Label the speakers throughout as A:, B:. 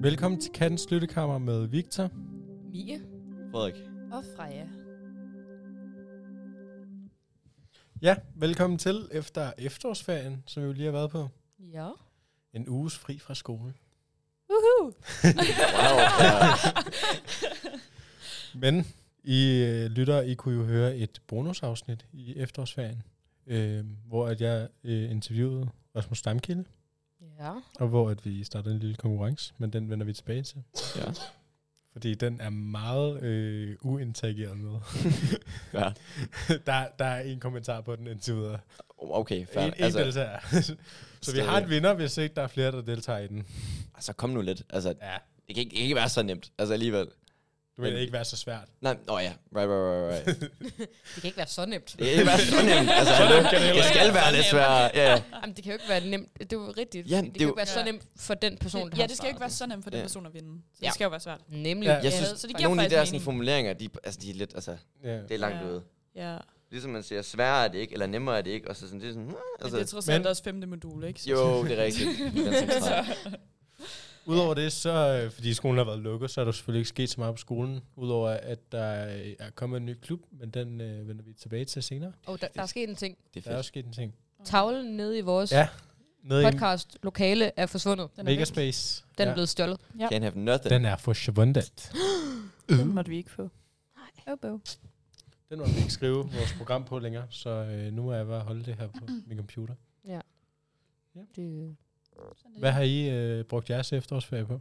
A: Velkommen til Kattens Lyttekammer med Victor.
B: Mie
C: Frederik.
B: og Freja.
A: Ja, velkommen til efter efterårsferien, som vi jo lige har været på.
B: Ja.
A: En uges fri fra skole.
B: Uhu.
C: Wow.
A: Men I øh, lytter, I kunne jo høre et bonusafsnit i efterårsferien, øh, hvor at jeg øh, interviewede Rasmus Stamkilde,
B: Ja.
A: og hvor at vi startede en lille konkurrence, men den vender vi tilbage til.
C: ja.
A: Fordi den er meget øh, uinterageret med.
C: ja.
A: der, der er en kommentar på den indtil videre.
C: Okay, fair.
A: En, en altså, deltager. Så vi
C: Stadig.
A: har en vinder, hvis ikke der er flere, der deltager i den.
C: altså, kom nu lidt. Altså,
A: Ja,
C: det kan, ikke, det kan ikke være så nemt. Altså, alligevel.
A: du mener
C: Men-
A: ikke være så svært.
C: Nej, nå ja. Right, right, right, right.
B: Det kan ikke være så nemt.
C: Det kan ikke være så nemt. Altså,
A: Så nemt kan det
C: det,
A: heller
C: skal
B: ikke
C: være
B: være.
C: lidt sværere. Ja, ja.
B: Jamen, det kan jo ikke være nemt. Det er jo rigtigt.
C: Ja,
B: det,
C: det
B: kan
C: er
B: jo
C: jo-
B: ikke være så
D: Ja.
B: nemt for den person, der
D: ja,
B: har
D: det skal ikke være så nemt for den
C: Ja.
D: person at vinde. Så
B: Ja.
D: det skal jo være svært.
B: startet. Nemlig.
A: Ja.
B: Ja.
C: Jeg
D: Ja,
C: synes,
D: så det
C: Og
D: giver
C: nogle af de der
D: faktisk
C: sådan,
D: mening.
C: formuleringer, de, altså, de er lidt, altså,
A: Ja.
C: det er langt
D: Ja.
C: ude.
D: Ja,
C: Ligesom man siger, sværere er det ikke, eller nemmere er det ikke, og så sådan, det er sådan, hmm,
D: altså,
C: altså,
D: det er trods
A: men-
D: alt også femte modul, ikke? Så-
C: jo, det er rigtigt. Det er den centrale.
A: Udover det, så øh, fordi skolen har været lukket, så er der selvfølgelig ikke sket så meget på skolen. Udover at der øh, er kommet en ny klub, men den øh, vender vi tilbage til senere.
B: Og der, der er sket en ting.
C: Det er
A: Der er
C: fedt.
A: også sket en ting.
B: Tavlen nede i vores
A: Ja, Nede
B: podcast-lokale er forsvundet.
A: i
D: Den er væk.
A: Megaspace.
B: Den er
A: ja.
B: blevet stjålet.
D: Ja.
C: Can't have nothing.
A: den er for Shavundet.
D: Den måtte vi ikke få. Nej. Oh,
A: Den må vi ikke skrive vores program på længere, så øh, nu må jeg bare holde det her på min computer.
B: Det,
A: Hvad har I øh, brugt jeres efterårsferie på?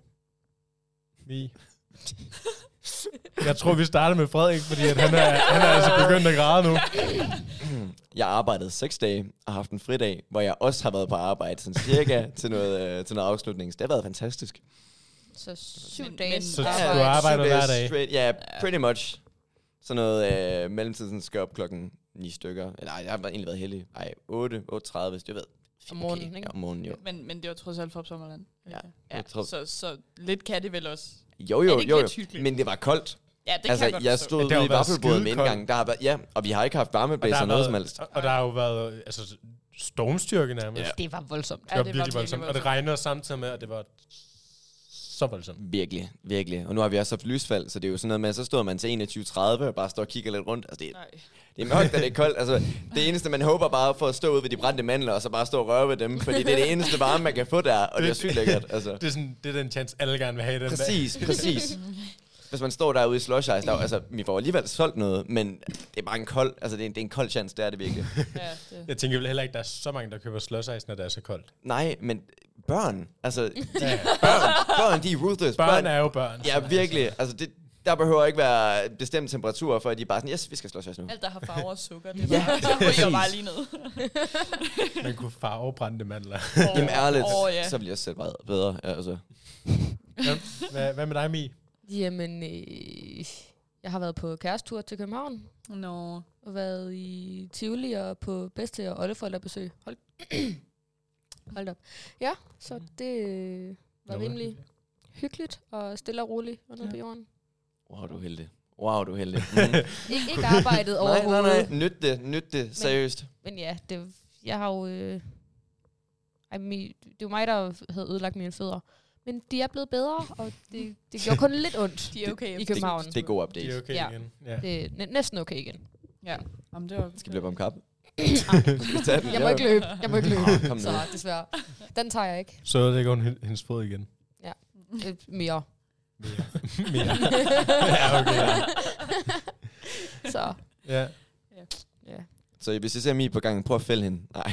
A: Vi. Jeg tror, vi starter med Frederik, fordi at han, er, han er altså begyndt at græde nu.
C: Jeg arbejdede seks dage og har haft en fridag, hvor jeg også har været på arbejde sådan cirka til noget, øh, til noget afslutning. Så det har været fantastisk.
B: så syv
D: Men-
B: dage.
D: men-
A: Så
D: du
A: du arbejder
C: Syv dage
A: hver dag.
C: Straight, ja, yeah, pretty much. Sådan noget øh, mellemtiden skal jeg op klokken 9 stykker. Eller ej, jeg har været- egentlig været heldig. Ej, 8, 8.30, hvis du ved.
B: Om morgenen, ikke?
C: Ja, om morgenen, jo.
D: Men, men det var trods alt for sommerland.
C: Ja.
D: Okay.
C: Ja. Tror,
D: Så, så lidt kan det vel også.
C: jo,
D: er
C: jo,
D: det ikke
C: jo,
D: lidt
C: jo.
D: hyggeligt?
C: Men det var koldt.
D: Ja, det
C: altså,
D: kan jeg,
C: jeg
D: godt forstå.
C: stod
A: Ja, det har
C: ude i
A: jo været
C: vaffelbordet med
A: skidekoldt.
C: indgangen. Der har været, ja, og vi har ikke haft
A: Og der,
C: varmeblæser
A: har
C: noget som
A: været,
C: helst.
A: og- og der har jo været altså, stormstyrke nærmest.
C: Ja.
B: Det var voldsomt.
A: Det
D: Ja,
A: var
D: det
A: virkelig
D: var
A: voldsomt.
D: virkelig
A: Og det
D: voldsomt.
A: regner samtidig med, at det var så voldsomt.
C: Virkelig, virkelig. Og nu har vi også haft lysfald, så det er jo sådan noget med, at så står man til 21.30 og bare står og kigger lidt rundt. Altså, det, er-
D: Nej.
C: det er mørkt, og det er koldt. Altså, det eneste, man håber bare for at stå ude ved de brændte mandler, og så bare stå og røre ved dem, fordi det er det eneste varme, man kan få der, og det er sygt lækkert. Altså.
A: Det er, sådan, det er den chance, alle gerne vil have den dag.
C: Præcis, præcis. Hvis man står derude i slush ice, der, er jo- altså, vi får alligevel solgt noget, men det er bare en kold, altså det er en, det er en kold chance, det er det virkelig.
D: Ja, det.
A: Jeg tænker vel heller ikke, der er så mange, der køber slåsajs, når det er så koldt.
C: Nej, men børn, altså de,
A: Ja.
C: børn, børn, de er ruthless.
A: Børn er jo børn.
C: Ja, virkelig. Altså, det, der behøver ikke være bestemte temperaturer, for at de er bare sådan, yes, vi skal slås os nu.
B: Altså-
D: Alt, der har farver og sukker, det
C: Ja,
D: var, det ryger bare
C: præcis.
D: lige ned.
A: Man kunne farve brændte mandler.
C: Jamen ærligt,
D: Åh, oh, ja.
C: så bliver jeg selv meget bedre. Ja, altså.
A: Hvad, hvad med dig, Mi?
B: Jamen, øh, jeg har været på kærestur til København.
D: Nå.
B: Og været i Tivoli og på bedste og oldeforældrebesøg. Hold, Hold op. Ja, så
C: Mm.
B: det øh, var
A: Nå,
B: rimelig hyggeligt og stille og roligt under ja. på jorden.
C: Wow, du er heldig. Wow, du er heldig. Mm.
B: Ik- ikke arbejdet
C: nej, nej,
B: overhovedet.
C: nej. Nyt det, nyt det. Seriøst.
B: Men ja, det, jeg har jo... Øh, ej, mi, det er jo mig, der havde ødelagt mine fødder. Men de er blevet bedre, og det, det gjorde kun lidt ondt.
D: De er okay.
B: I København.
C: Det, det er god
A: Det er
C: update.
A: okay
B: Ja.
A: igen. Ja.
B: Det er næ- næsten okay igen.
D: Ja. Jamen, det var...
C: Skal vi løbe om kap?
B: Jeg må ikke løbe. Jeg må ikke
C: Åh, kom
B: løbe.
C: nu.
B: Så desværre. Den tager jeg ikke
A: Så det går hun hen- hendes fod igen.
B: øh, mere.
A: Mere. Mere. ja, okay.
B: Så,
A: Ja.
B: ja.
C: Så hvis I ser mig på gangen, prøv at fælde hende. Nej.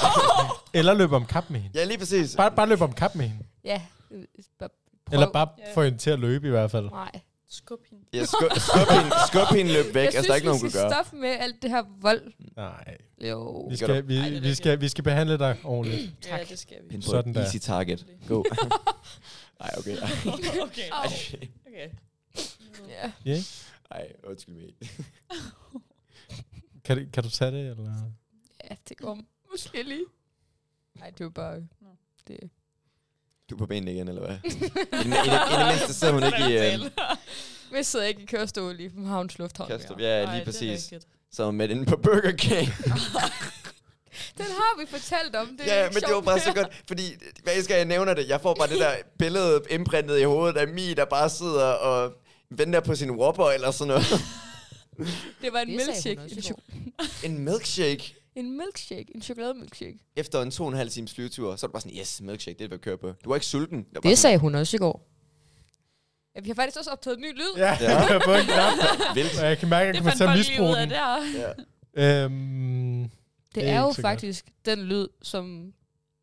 A: Eller løb om kap med hende.
C: ja, lige præcis.
A: Bare, bare løb om kap med hende.
B: Ja. øh, bare prøv.
A: Eller bare
D: Ja.
A: få hende til at løbe i hvert fald.
B: Nej.
D: Skub hende.
C: Ja, skub, skub, hende, skub hende løb væk.
B: Jeg
C: altså, der er ikke nogen,
B: vi
C: kunne
B: skal
C: gøre.
B: stoppe med alt det her vold.
A: Nej.
B: Jo.
A: Vi
C: Gør
A: skal, vi,
D: Ej, det er
A: vi, skal, vi skal behandle dig ordentligt.
D: Tak. Ja, det skal vi.
C: Hende på
A: Sådan
C: et
A: der.
C: easy target. Go. Nej, okay.
D: okay.
B: Au.
D: okay.
B: Ja.
C: Nej, undskyld mig.
A: Kan, det- kan du tage det? Eller?
B: ja, det går måske lige. Nej, det var bare...
D: Nå.
B: Det.
C: du er på benene igen, eller hvad? I, det- i, det- i det mindste sidder hun ikke i... Øh,
B: Vi sidder ikke i kørestol i Københavns Lufthavn.
C: Kastrup.
B: mere.
C: ja, lige
D: Ej, Det er
C: præcis.
D: rigtigt.
C: Så er hun med inde på Burger King.
B: Den har vi fortalt om. Det er
C: ja,
B: ikke
C: men det var
B: sjovt
C: bare så
B: mere.
C: godt, fordi hver eneste gang jeg nævner det, jeg får bare det der billede indprintet i hovedet af Mi, der bare sidder og venter på sin Whopper eller sådan noget.
B: Det var en
E: Det sagde hun
B: milkshake.
E: også
B: En,
E: i går.
B: cho-
C: En milkshake
B: en milkshake. En chokolademilkshake.
C: efter en to og en halv times flyvetur, så er du bare sådan, yes, milkshake, det er det, vi kører på. Du var ikke sulten. Det, var bare
E: Det sagde hun også i går.
B: Ja, vi har faktisk også optaget en ny lyd.
A: Ja,
C: Ja.
A: jeg har fået en knap,
C: sådan, vildt.
A: og jeg kan mærke, at jeg
D: Det
A: kommer
D: fandt
A: til at misbruge
D: folk lige ud af
A: den.
D: der.
A: Øhm,
B: Det
A: Det er
B: er jo
A: ikke så godt.
B: faktisk den lyd, som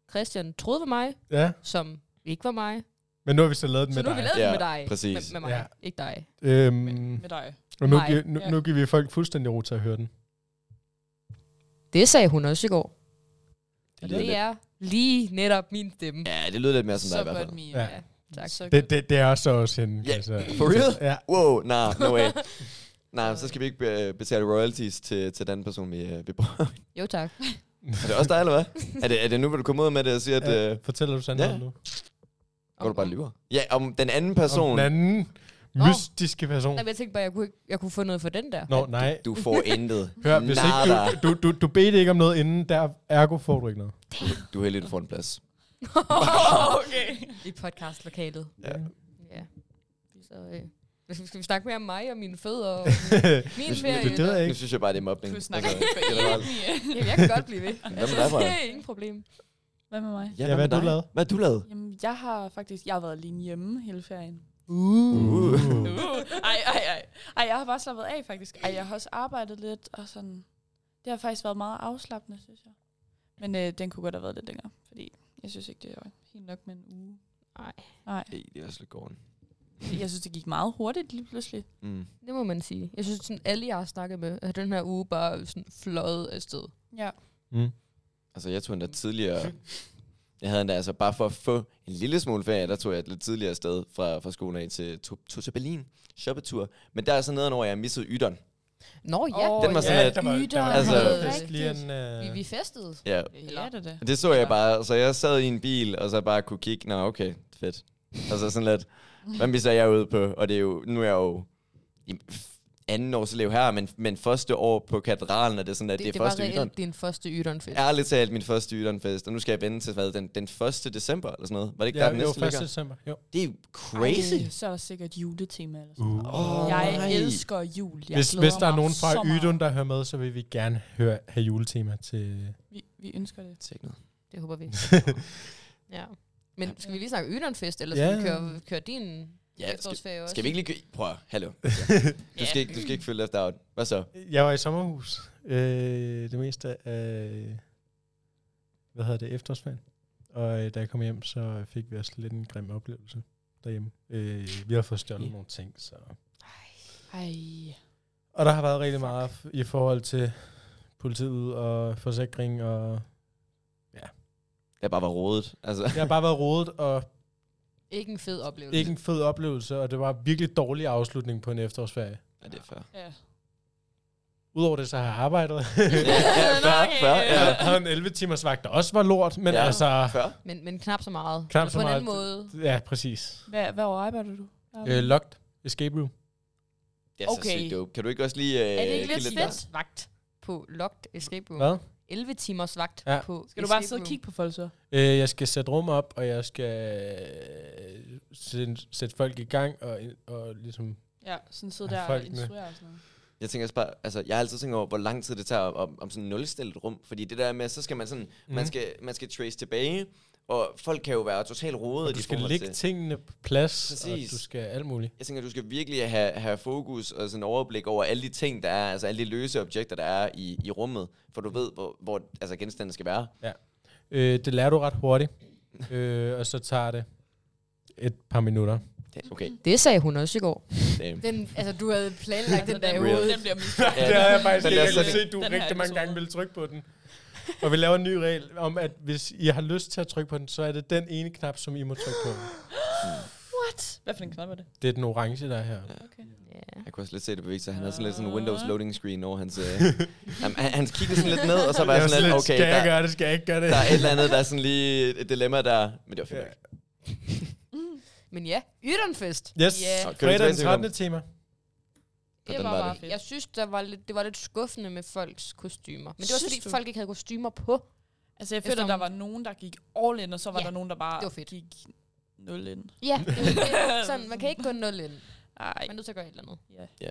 B: Christian troede var mig,
A: ja,
B: som ikke var mig.
A: men nu har vi så lavet den
B: Så
A: med
B: nu har vi
A: dig.
B: lavet den
C: Ja,
B: med dig.
C: præcis.
B: Med, med mig,
A: Ja.
B: ikke dig.
A: Øhm,
D: Med dig.
A: og nu,
B: Nej.
A: giver, nu,
D: Ja.
A: nu giver vi folk fuldstændig ro til at høre den.
E: Det sagde hun også i går.
B: Og
C: lyder
B: det
C: lidt,
B: er lige netop min stemme.
C: ja, det lyder lidt mere som dig i
D: Så
C: hvert
D: godt,
C: fald.
D: Mie.
A: Ja.
B: Tak.
D: Så
A: Det, det, det er også også hende.
C: Ja,
A: altså.
C: for real?
A: Ja,
C: Wow, nej, nah, no way. Nej, så skal vi ikke øh, betale royalties til, til den person, vi, øh, vi bruger.
B: Jo tak.
C: Er det også dig, eller hvad? Er det, er det nu, hvor du kommer ud med det og siger, at...
A: ja.
C: Øh,
A: fortæller du sandheden
C: ja.
A: nu?
C: går du bare og lyver? Ja, om den anden person.
A: Om den anden mystiske person.
B: Nej, men jeg tænkte bare, jeg kunne, ikke, jeg kunne få noget for den der.
A: Nå, nej.
C: Du får intet.
A: Hør, hvis
C: Nada.
A: ikke du, du, du, du bedte ikke om noget inden, der ergo får du ikke noget.
C: Du er heldig, du får en plads.
D: Okay.
B: I podcastlokalet.
C: Ja.
B: Ja. Så øh, skal vi- skal vi snakke mere om mig og mine fødder og min
C: Det-
B: ferie?
A: det ved jeg
C: Nu
A: ikke.
C: synes jeg bare, det er mobning.
D: Du snakker
C: Altså,
D: ikke for
C: generelt.
D: evigt.
B: Jamen, jeg kan godt blive ved.
C: Hvad med dig,
B: det
C: Maja?
B: er ingen problem.
D: Hvad med mig?
A: Ja, hvad har
C: med
A: du
C: dig?
A: lavet?
C: Hvad har du lavet?
D: Jamen, jeg har faktisk... Jeg har været alene hjemme hele ferien.
A: Uh.
D: Uh, ej, ej, ej. Ej, jeg har bare slappet af, faktisk. Ej, jeg har også arbejdet lidt, og sådan... Det har faktisk været meget afslappende, synes jeg. Men øh, den kunne godt have været lidt længere, fordi jeg synes ikke, det var helt nok med en uge.
B: Nej.
D: Nej,
C: Ej, det er også lidt gården.
D: jeg synes, det gik meget hurtigt lige pludselig.
C: Mm.
B: Det må man sige. Jeg synes, sådan alle, jeg har snakket med, har den her uge bare sådan fløjet afsted.
D: Ja.
A: Mm.
C: Altså, jeg tog endda tidligere... Jeg havde endda, altså bare for at få en lille smule ferie, der tog jeg et lidt tidligere sted fra, fra skolen af til, tog, tog til Berlin, shoppetur. Men der er så nedenover, jeg missede ytteren.
B: Nå ja,
D: Åh,
B: oh,
C: Den var sådan, at-
A: der var, der var
C: Altså-
A: faktisk lige en... øh,
B: vi, vi festede.
C: Ja,
D: Ja, det er det.
C: det så jeg bare. Så jeg sad i en bil, og så bare kunne kigge. Nå, okay, fedt. Altså sådan lidt, hvad misser jeg ude på? Og det er jo, nu er jeg jo i anden års elev her, men, men første år på katedralen, og det er sådan, at det, det, det er
B: var
C: første ytteren.
B: reelt din første ytternfest.
C: ærligt talt min første Jyllandfest, og nu skal jeg vente til hvad, den, den 1. december eller sådan noget. Var det ikke
A: ja,
C: der, den
A: det
C: næste
A: var 1.
C: ligger?
A: december. Jo.
C: Det er crazy.
D: Ej, så er der sikkert juletema eller sådan.
A: Uh.
D: Oh,
C: Åh,
D: jeg
C: nej.
D: elsker jul. Jeg
A: Hvis,
D: glæder
A: hvis der er
D: mig
A: nogen fra
D: så meget.
A: Ydun, der hører med, så vil vi gerne høre, have juletema til...
D: Vi, vi ønsker det.
C: Tænk noget.
B: Det håber vi. ja. Men skal vi lige snakke ytternfest, eller
A: Ja.
B: skal vi køre, køre din
C: Ja,
B: efterårsferie også?
C: Skal vi ikke lige... gø- Prøv at... Hallo. Du skal ikke, du skal ikke følge efter out. Hvad så?
A: Jeg var i sommerhus øh, det meste af... Hvad hedder det? Efterårsferien. Og øh, da jeg kom hjem, så fik vi også lidt en grim oplevelse derhjemme. Øh, vi har fået stjålet
C: Ja.
A: nogle ting, så...
D: Ej.
A: Og der har været rigtig meget f- i forhold til politiet og forsikring, og
C: Jeg bare var rodet. Altså,
A: jeg har bare været rodet, og
B: Ikke en fed oplevelse.
A: ikke en fed oplevelse, og det var virkelig dårlig afslutning på en efterårsferie.
C: ja, det er fair.
D: Ja.
A: Udover det, så har jeg arbejdet.
C: Ja, ja, fair,
D: Nå, okay.
C: fair. Ja,
A: jeg havde en 11-timers vagt, der også var lort, men
C: Ja.
A: ja. altså...
C: fair.
B: Men, men knap så meget.
A: Knap
B: Eller
A: så
B: på
A: meget.
B: en anden måde.
A: Ja, præcis.
D: Hvad, hvad år arbejder du?
A: Øh, locked. Escape room.
C: Det er så
D: Okay.
C: sygt dope. Kan du ikke også lige... Øh,
D: Er det ikke
C: give
D: lidt
C: gas?
D: fedt?
B: Vagt på locked escape room.
A: Hvad?
B: 11 timers vagt
A: Ja.
B: på
D: Skal du bare
B: escape
D: sidde og
B: room.
D: kigge på folk så?
A: Øh, jeg skal sætte rum op, og jeg skal øh, sætte, sætte folk i gang, og, og ligesom...
D: Ja, sådan sidde
A: Ja,
D: der og
A: folkene.
D: instruere og sådan noget.
C: Jeg tænker også bare, altså, jeg har altid tænkt over, hvor lang tid det tager om- om, om sådan en nulstillet rum. Fordi det der med, så skal man sådan, mm.
A: Mhm.
C: man, skal, man skal trace tilbage, og folk kan jo være totalt rodet.
A: Og du
C: i
A: skal
C: forhold
A: lægge
C: til-
A: tingene på plads,
C: Præcis.
A: og du skal alt muligt.
C: Jeg tænker, du skal virkelig have, have fokus og sådan overblik over alle de ting, der er, altså alle de løse objekter, der er i, i rummet, for du ved, hvor, hvor altså, genstanden skal være.
A: Øh, det lærer du ret hurtigt, øh, og så tager det et par minutter.
C: Det- Okay,
E: Det sagde hun også i går.
C: damn.
B: Den, altså, du havde planlagt den der i
C: Real.
B: hovedet.
D: Den bliver min.
C: Ja, det-
A: jeg faktisk
C: den ikke. er Jeg kunne
D: sådan- se, du den har rigtig jeg ikke mange gange troet.
A: ville trykke på den. Og vi laver en ny regel om, at hvis I har lyst til at trykke på den, så er det den ene knap, som I må trykke på.
D: What? Hvad for en knap er det?
A: Det er den orange, der er her.
B: Ja.
C: Jeg kunne også lidt se det på Victor. Han har sådan lidt sådan en Windows loading screen over hans... Øh, jamen, han, han kiggede sådan lidt ned, og så var jeg sådan lidt, okay,
A: skal jeg
C: der,
A: gøre det, skal jeg ikke gøre det?
C: der er et eller andet, der er sådan lige et dilemma der. Men det var fedt.
A: Ja.
C: nok.
D: Mm.
B: Men ja, Ytterfest.
A: Yes,
F: Ja.
A: yeah.
C: Nå, kører vi
A: fredag den
C: tilbage til
A: 13. tema.
C: Hvordan
F: Det var,
C: var
F: var
C: det?
F: fedt. Jeg synes, der var lidt, det var lidt skuffende med folks kostymer. Men det var
D: Synes
F: fordi,
D: du?
F: folk ikke havde kostymer på.
D: Altså, jeg
F: Efter
D: føler, der
F: hun-
D: var nogen, der gik all in, og så var
F: Ja,
D: ja, der nogen, der bare
F: det var fedt.
D: gik nul ind.
F: Ja, det var det. Sådan, man kan ikke gå nul ind. Man
D: Ej,
F: er nødt til at gøre et eller andet.
D: ja.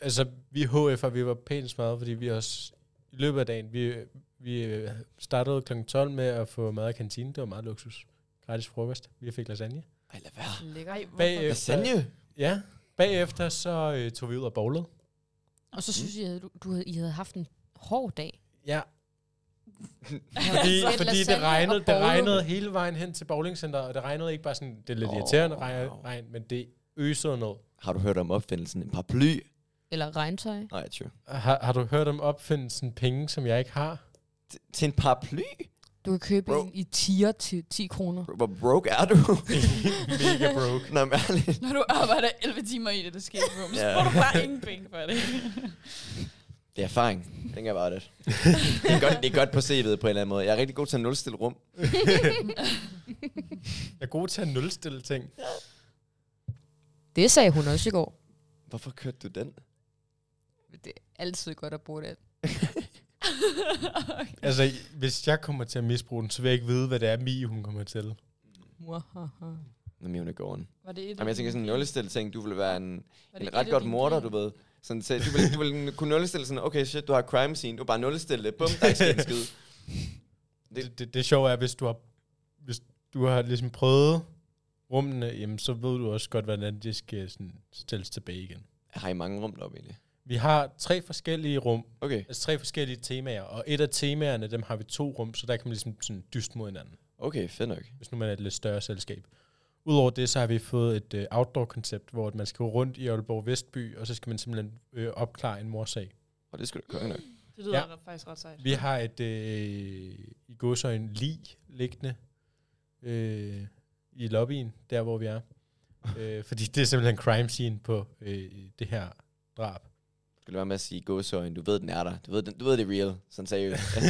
A: Altså, vi HF'er, vi var pænt smadret, fordi vi også i løbet af dagen, vi, vi øh, startede kl. 12 med at få mad af kantinen. Det var meget luksus. Gratis frokost. Vi fik lasagne.
C: Ej, lad være.
B: Lækker.
A: Bagefter-
C: Lasagne?
A: Ja, bagefter så øh, tog vi ud og bowlede.
F: Og så synes jeg, at du, du havde, I havde haft en hård dag.
A: Ja,
F: Fordi,
A: fordi,
D: Altså,
A: fordi det, regnede, det regnede hele vejen hen til bowlingcenteret, og det regnede ikke bare sådan, det er lidt
C: Åh.
A: oh, irriterende regn, regn, men det øsede noget.
C: Har du hørt om opfindelsen? En paraply?
B: Eller regntøj.
C: Nej, true.
A: Har, har du hørt om opfindelsen penge, som jeg ikke har?
C: T- til en paraply?
B: Du kan købe
C: Bro.
B: en i tier til 10 kroner.
C: Hvor broke er du?
A: Mega broke.
C: Nå, men ærligt.
D: Når du arbejder 11 timer i det, det sker room, så
C: Ja.
D: får du bare ingen penge for det.
C: Det er erfaring. Tænker jeg bare det. Det er godt, det er godt på CV'et på en eller anden måde. Jeg er rigtig god til at nulstille rum.
A: Jeg er god til at nulstille ting.
B: Det sagde hun også i går.
C: Hvorfor kørte du den?
B: Det er altid godt at bruge det.
A: Altså, hvis jeg kommer til at misbruge den, så vil jeg ikke vide, hvad det er, Mie, hun kommer til.
B: Muhaha.
C: Nå, men hun er gården.
D: Var det et
C: Jamen, jeg tænker sådan en nullestille ting. Du ville være en,
D: var det
C: en
D: et
C: ret
D: af
C: godt
D: dine
C: morder, du
D: drømme?
C: ved. Sådan, så du ville, du ville kunne nullestille sådan, okay, shit, du har crime scene. Du bare nullestille det. Bum, der er ikke sket en skid. Det-
A: Det, det, det sjove er, hvis du har, hvis du har ligesom prøvet rummene, jamen, så ved du også godt, hvordan det skal sådan, stilles tilbage igen.
C: Har I mange rum deroppe egentlig?
A: Vi har tre forskellige rum,
C: Okay,
A: Altså tre forskellige temaer, og et af temaerne, dem har vi to rum, så der kan man ligesom sådan dyst mod hinanden,
C: okay, fedt nok.
A: hvis nu man er et lidt større selskab. Udover det, så har vi fået et øh, outdoor-koncept, hvor at man skal gå rundt i Aalborg Vestby, og så skal man simpelthen øh, opklare en morsag.
C: Og det skulle da køre nok.
D: Det
A: lyder
D: faktisk ret sejt.
A: Vi har et, øh, i går så en lig liggende øh, i lobbyen, der hvor vi er. øh, fordi det er simpelthen crime scene på øh, det her drab.
C: Skal du være med at sige gåsøjen? Du ved, den er der. Du ved, den, du ved det er real. Sådan seriøst.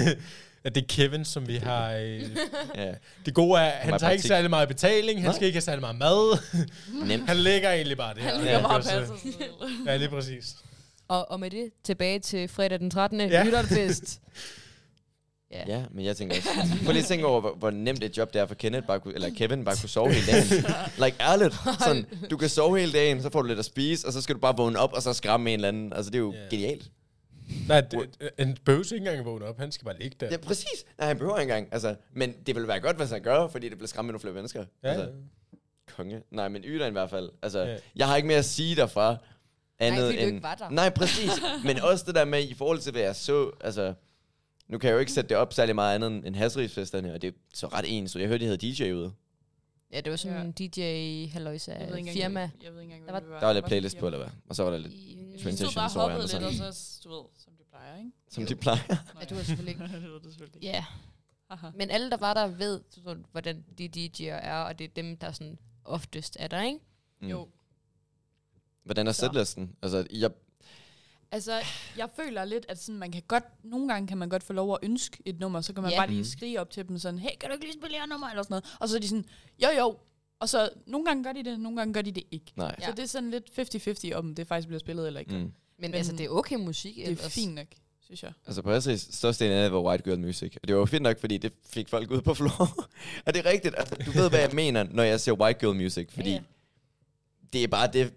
A: At det er Kevin, som vi har øh,
C: ja.
A: Det gode er, at han
C: meget
A: tager ikke
C: praktik.
A: særlig meget betaling, han
C: Nej.
A: skal ikke have særlig meget mad.
C: Nemt.
A: Han ligger egentlig bare der.
D: Han
C: Ja,
D: ligger bare og
A: Altså,
D: passer sig selv.
A: Ja, lige præcis.
B: Og, og med det, tilbage til fredag den 13.
A: Ja.
B: Ja. Ytterfest. Ja.
C: Ja, men jeg tænker også. Prøv lige at tænke over, hvor, hvor nemt et job det er for Kenneth, bare kunne, eller Kevin bare kunne sove hele dagen. Like, ærligt. Sådan, du kan sove hele dagen, så får du lidt at spise, og så skal du bare vågne op, og så skræmme en eller anden. Altså, det er jo
A: Ja.
C: yeah. genialt.
A: Nej, det, en bøvs ikke engang vågne op, han skal bare ligge der.
C: Ja, præcis. Nej, han behøver ikke engang. Altså, men det ville være godt, hvis han gør, fordi det bliver skræmme endnu flere mennesker.
A: Ja,
C: Altså,
A: ja.
C: konge. Nej, men Ydan i hvert fald. Altså,
A: Ja.
C: jeg har ikke mere at sige derfra. Andet
B: fordi du
C: end...
B: ikke var der.
C: Nej, præcis. men også det der med, i forhold til hvad jeg så, altså... Nu kan jeg jo ikke sætte det op særlig meget andet end- end Hasrigsfesterne, og det er så ret ens. Jeg hørte, de havde DJ ude.
B: ja, det var sådan
D: Ja.
B: en DJ-halløjs
D: Jeg ved
B: af
D: ikke engang,
B: firma.
D: Jeg ved ikke engang,
B: Der
D: hvad
B: var-
D: det var.
C: Der var lidt
D: bare
C: playlist
D: sådan
C: på, eller hvad? Og så var der lidt,
B: I-
D: Vi stod
C: Transition,
D: bare og
C: så var
D: hoppede
C: jeg
D: lidt,
C: sådan.
D: og så, du ved, som de plejer, ikke?
C: som de plejer.
D: Nå,
B: Ja, du var selvfølgelig ikke.
D: det var det selvfølgelig ikke.
B: Ja,
D: Haha.
B: men alle, der var der, ved, sådan, hvordan de DJ'er er, og det er dem, der sådan oftest er der, ikke?
C: Mm.
D: Jo.
C: Hvordan er
D: Så.
C: sætlisten? Altså, jeg,
D: Altså, jeg føler lidt, at sådan, man kan godt, nogle gange kan man godt få lov at ønske et nummer, så kan man
B: Ja.
D: ja. bare lige
C: Mhm.
D: skrige op til dem sådan, hey, kan du ikke lige spille det her nummer, eller sådan noget. Og så er de sådan, jo jo. Og så nogle gange gør de det, nogle gange gør de det ikke.
C: nej.
D: Ja. Så det er sådan lidt 50-50 om det faktisk bliver spillet eller ikke. Mm.
C: Mm.
B: Men,
D: Men
B: men altså, det er okay musik
D: Det er
B: ellers.
D: fint nok, synes jeg.
C: Altså på Asris største af det var white girl music. Og det var jo fedt nok, fordi det fik folk ud på floor. og det er rigtigt. Altså, du ved, hvad jeg mener, når jeg siger white girl music. Fordi
F: Ja, ja.
C: det er bare det,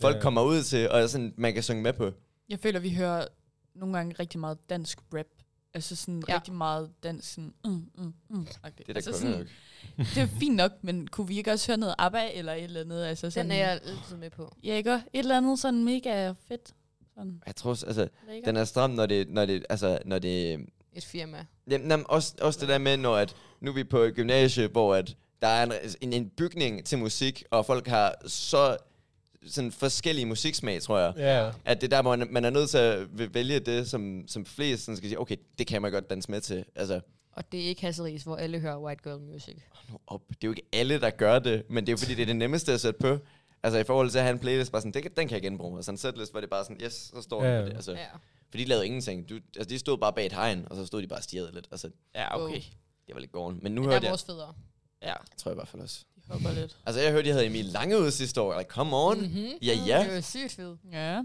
C: folk
A: Ja.
C: kommer ud til, og sådan, man kan synge med på.
D: Jeg føler, vi hører nogle gange rigtig meget dansk rap. Altså sådan
B: Ja.
D: ja. rigtig meget dansk, sådan, mm, mm, mm. Okay.
C: Det er da
D: altså
C: altså,
D: sådan,
C: nok.
D: det er fint nok, men kunne vi ikke også høre noget ABBA eller et eller andet? Altså sådan,
B: Den er jeg altid med på.
D: Ja, ikke? Et eller andet sådan mega fedt. Sådan.
C: Jeg tror, også, altså,
D: Lækker.
C: den er stram, når det, når det, altså, når det,
B: Et firma.
C: Jamen, jamen også, også det der med, når at, nu er vi på et gymnasie, hvor at der er en, en, en bygning til musik, og folk har så sådan forskellige musiksmag, tror jeg.
A: Ja,
C: At det er der, hvor man, man er nødt til at vælge det, som, som flest sådan skal sige, okay, det kan man godt danse med til. Altså,
B: Og det er ikke Hasseris, hvor alle hører white girl music.
C: nu op. Det er jo ikke alle, der gør det, men det er jo fordi, det er det nemmeste at sætte på. Altså i forhold til at have en playlist, bare sådan, det, kan- den kan jeg genbruge. Og sådan en setlist, hvor det bare sådan, yes, så står
A: Ja,
C: ja,
A: ja.
C: det. Altså,
B: Ja.
C: For de lavede ingenting. Du, altså, de stod bare bag et hegn, og så stod de bare og stirrede lidt. Altså,
D: Ja, okay.
C: det var lidt gården. Men nu
B: Der
C: hørte
B: er
C: jeg,
B: vores fædre.
D: Ja.
C: tror jeg i hvert fald også.
D: De De hopper lidt.
C: Altså, jeg hørte, jeg havde Emil Lange ude sidste år. Like, come on. Mm.
B: Mm-hmm.
C: Ja, ja.
B: Det var sygt fedt.
D: Ja.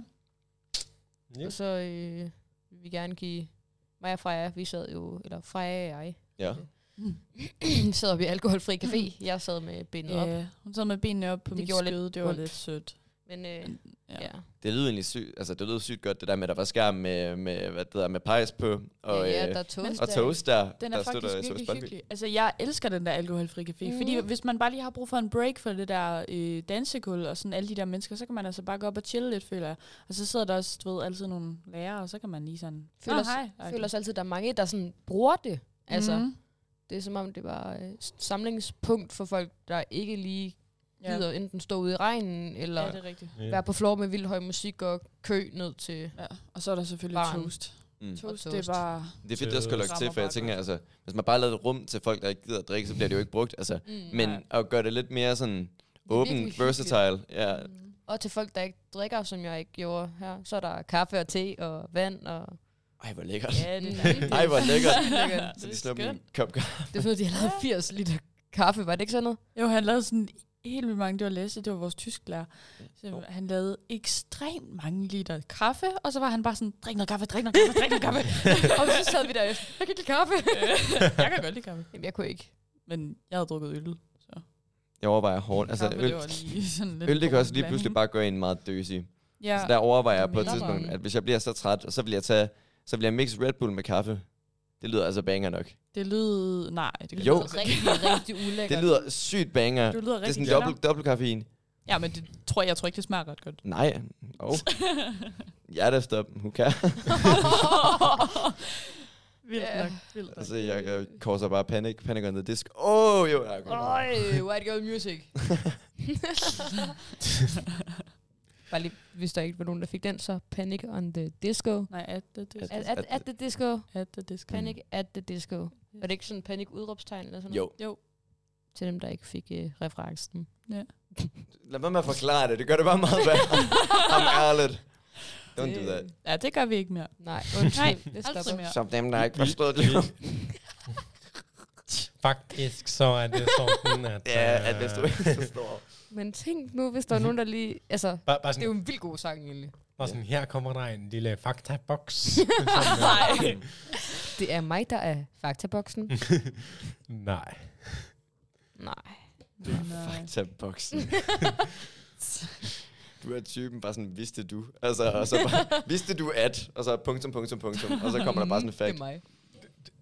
A: Ja.
B: Og så øh, vil vi gerne give mig og Freja, vi sad jo, eller Freja og jeg,
C: Ja.
D: Mm.
B: sad oppe i alkoholfri café. Jeg sad med bindet yeah. op.
D: ja. Hun sad med benene op på
B: Det
D: det mit
B: gjorde lidt
D: skøde. Det var
B: ondt.
D: lidt sødt.
B: Men øh,
D: Ja.
B: ja. ja.
C: Det lyder egentlig sygt. Altså, det lyder sygt godt, det der med, at der var skærm med, med hvad det der, med pejs på. Og,
B: ja,
C: øh,
B: der er tog.
D: men-
C: og toast der,
D: Den
C: der
D: er faktisk
C: SOS
D: virkelig
C: Brøndby.
D: hyggelig. Altså, jeg elsker den der alkoholfri café, mm. fordi
B: Mhm.
D: hvis man bare lige har brug for en break for det der øh, dansegulv og sådan alle de der mennesker, så kan man altså bare gå op og chille lidt, føler jeg. Og så sidder der også, du ved, altid nogle lærere, og så kan man lige sådan...
B: Føler,
D: "Nå,
B: os,
D: agtigt.
B: føler os altid, at der er mange, der sådan bruger det. Altså, mm.
D: Mhm.
B: det er som om, det var øh, samlingspunkt for folk, der ikke lige
D: ja.
B: gider enten stå ude i regnen, eller
D: ja,
B: ja,
D: det er rigtigt.
B: være på floor med vild høj musik og kø ned til...
D: Ja. Og så er der selvfølgelig
B: Barn.
D: toast.
C: Mm.
D: Toast,
B: Og
D: det
B: toast.
D: er bare...
C: Det er fedt, det skal
A: Det
C: lukke til,
D: rammer
C: for jeg
D: bare
C: tænker,
D: godt.
C: altså, hvis man bare lavede et rum til folk, der ikke gider at drikke, så bliver det jo ikke brugt. Altså,
B: Mm.
C: men
D: Nej.
C: at gøre det lidt mere sådan
B: Det er virkelig
C: åben,
B: hyggeligt.
C: versatile. Ja,
B: Mm. Og til folk, der ikke drikker, som jeg ikke gjorde her, så er der kaffe og te og vand. Og
C: Ej, hvor lækkert.
D: Ja,
B: det er
D: rigtigt.
C: Ej, hvor lækkert.
B: Lækkert.
C: Så de slår dem i en kop kaffe.
B: det er sådan noget, de har lavet 80 liter kaffe, var det ikke sådan noget?
D: Jo, han lavede sådan helt vildt mange, det var Lasse, det var vores tysklærer. Så
C: Jo.
D: han lavede ekstremt mange liter kaffe, og så var han bare sådan, drik noget kaffe, drik noget kaffe, drik noget kaffe.
B: og så sad vi der, jeg kan ikke lide kaffe.
D: jeg kan godt lide kaffe.
B: Jamen, jeg kunne ikke.
D: Men jeg havde drukket øl.
C: Jeg overvejer hårdt. Altså,
D: kaffe,
C: øl,
D: det var lige sådan lidt
C: øl, det kan også
D: dårlig
C: lige pludselig
D: blanding.
C: bare gå ind meget døsig.
D: Ja,
C: Så der overvejer jeg på et
B: Mindre
C: tidspunkt,
B: varme.
C: at hvis jeg bliver så træt, så vil jeg tage, så vil jeg mixe Red Bull med kaffe. Det lyder altså banger nok.
D: det lød... Nej, det kan
C: Jo.
D: jeg ikke.
B: Rigtig, rigtig ulækkert.
C: Det lyder sygt banger.
D: Det lyder
C: Det er
D: rigtig
C: sådan dobbelt, dobbelt kaffein.
D: Ja, men det tror jeg, jeg tror ikke, det smager ret godt.
C: Nej. Oh. Jeg er da stop. Who can?
D: vildt
B: Ja.
D: nok, vildt nok.
C: Altså, jeg, jeg korser bare panic. Panic on the disc. Åh, oh, jo. Jeg
B: Øj, white girl music. Bare lige, hvis der ikke var nogen, der fik den, så Panic on the Disco.
D: Nej, at det disco.
B: At, at, at the disco.
D: At det disco.
B: Panic at the disco. Var det ikke sådan panik udråbstegn eller sådan
C: jo.
B: noget?
D: Jo.
B: Til dem, der ikke fik øh, referencen.
C: Lad mig med at forklare det. Det gør det bare meget værre. I'm ærligt. Don't do that.
D: Ja, det gør vi ikke mere.
B: Nej, undskyld.
D: Nej,
B: det
D: aldrig
B: stopper.
D: mere.
C: Som dem, der ikke forstod det.
A: Faktisk så er det sådan, at...
C: Ja,
A: øh,
C: at hvis du ikke forstår.
B: Men tænk nu, hvis der er nogen, der lige... Altså,
A: Bare, bare,
B: det er
A: sådan,
B: jo en vild god sang egentlig.
A: bare sådan, her kommer der en lille faktaboks.
B: Nej. Det er mig, der er faktaboksen.
C: Mm.
A: Nej.
B: Nej.
D: øh,
C: Fakta boksen. du er typen bare sådan, vidste du? Altså, og så bare, vidste du at? Og så punktum, punktum, punktum. Og så kommer der bare sådan en
B: Det
C: fact.
B: er mig.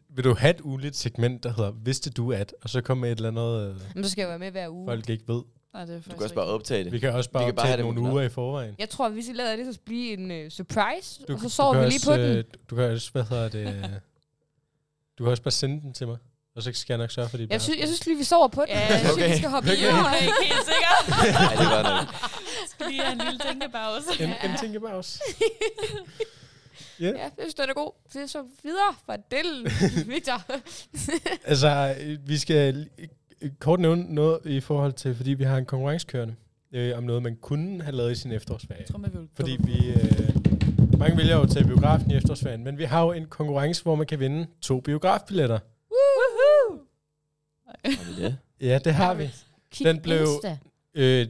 A: Vil du have et uligt segment, der hedder, vidste du at? Og så komme med et eller andet, øh,
B: Men så skal jeg være med hver uge.
A: folk ikke ved.
D: Nej, det er
C: Du kan også bare optage det.
A: Vi kan også bare
C: Vi kan bare have
A: optage
C: det
A: nogle
C: uden ad.
A: uger i forvejen.
B: Jeg tror, hvis I lader det, så blive en øh, surprise,
A: Du,
B: og så
A: du
B: sover
A: kan
B: vi lige
A: også,
B: på den.
A: øh, Du kan også, hvad hedder det... øh, du kan også bare sende den til mig. Og så skal jeg nok sørge for, at de
B: Jeg synes, jeg synes lige, vi sover på den.
D: Ja,
B: jeg synes,
C: okay.
B: vi skal hoppe i.
A: Okay.
B: jorden.
D: Jeg er ikke helt sikker.
C: Ja, det var noget.
D: Skal lige have en lille tænkepause.
A: en, en ting bare også.
B: Ja, jeg synes, den er god. Det er så videre fra Dell, Victor.
A: Altså, øh, vi skal øh, øh, kort nævne noget i forhold til, fordi vi har en konkurrencekørende øh, om noget, man kunne have lavet i sin efterårsferie.
D: Trummevivel.
A: Fordi vi... Øh, mange vælger jo til biografen i efterårsferien, men vi har jo en konkurrence, hvor man kan vinde to biografbilletter.
B: Woohoo!
C: Har vi det?
A: Ja, det har vi.
B: Kig
A: Den blev-
B: Insta.
A: Øh,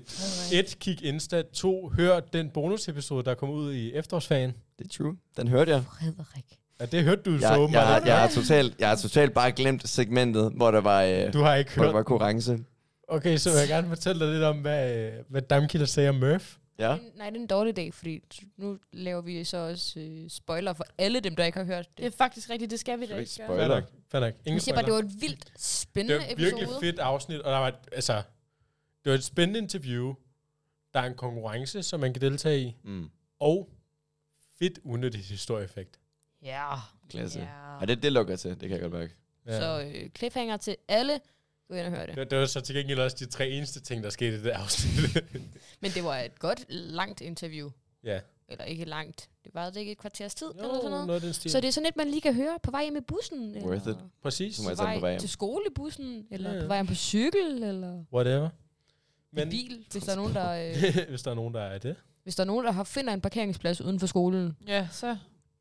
A: et, kig Insta. To, hør den bonusepisode, der kom ud i efterårsferien.
C: Det er true. Den hørte jeg.
B: Frederik.
A: Ja, det hørte du
C: Jeg,
A: så
C: jeg, jeg,
A: åbenbart.
C: jeg, har totalt, jeg har totalt bare glemt segmentet, hvor der var, øh,
A: Du har ikke
C: hvor der var
A: hørt.
C: konkurrence.
A: Okay, så vil jeg gerne fortælle dig lidt om, hvad, øh, hvad Damkilder sagde om Murph.
C: Ja.
B: Den- Nej, det er en dårlig dag, fordi nu laver vi så også øh, spoiler for alle dem, der ikke har hørt det.
D: Det er faktisk rigtigt, det skal vi da
C: Skal vi ikke
D: ikke
C: spoil?
D: gøre.
A: Fair
C: Spoiler.
A: nok, fair nok. Ingen
B: Jeg siger bare, det
A: spoiler.
B: var et vildt
A: det
B: spændende
A: var et
B: episode.
A: virkelig fedt afsnit, og der var, et, altså, det var et spændende interview. Der er en konkurrence, som man kan deltage i,
C: Mm.
A: og fedt unødigt historieeffekt.
B: Ja.
C: Klasse.
B: Ja.
C: Og det, det lukker til, det kan jeg godt mærke.
A: Ja.
B: Så øh, cliffhanger til alle. Gå ind og hør det.
A: Det, det var så til gengæld også de tre eneste ting, der skete i det afsnit.
B: Men det var et godt langt interview.
A: ja.
B: Eller ikke langt. Det var det ikke et kvarters tid eller sådan noget.
A: noget af den stil.
B: Så det er sådan et, man lige kan høre på vej hjem i bussen. Eller
C: Worth it.
A: Præcis.
C: Så må jeg
B: på
C: tage den
B: vej,
C: på vej hjem.
B: til skolebussen, eller
A: Ja, ja.
B: ja, ja. på vej hjem på cykel, eller
A: Whatever.
B: Men, i bil, hvis der, er nogen, der, øh,
A: hvis der er nogen, der er det.
B: hvis der er nogen, der har finder en parkeringsplads uden for skolen.
D: Ja, så.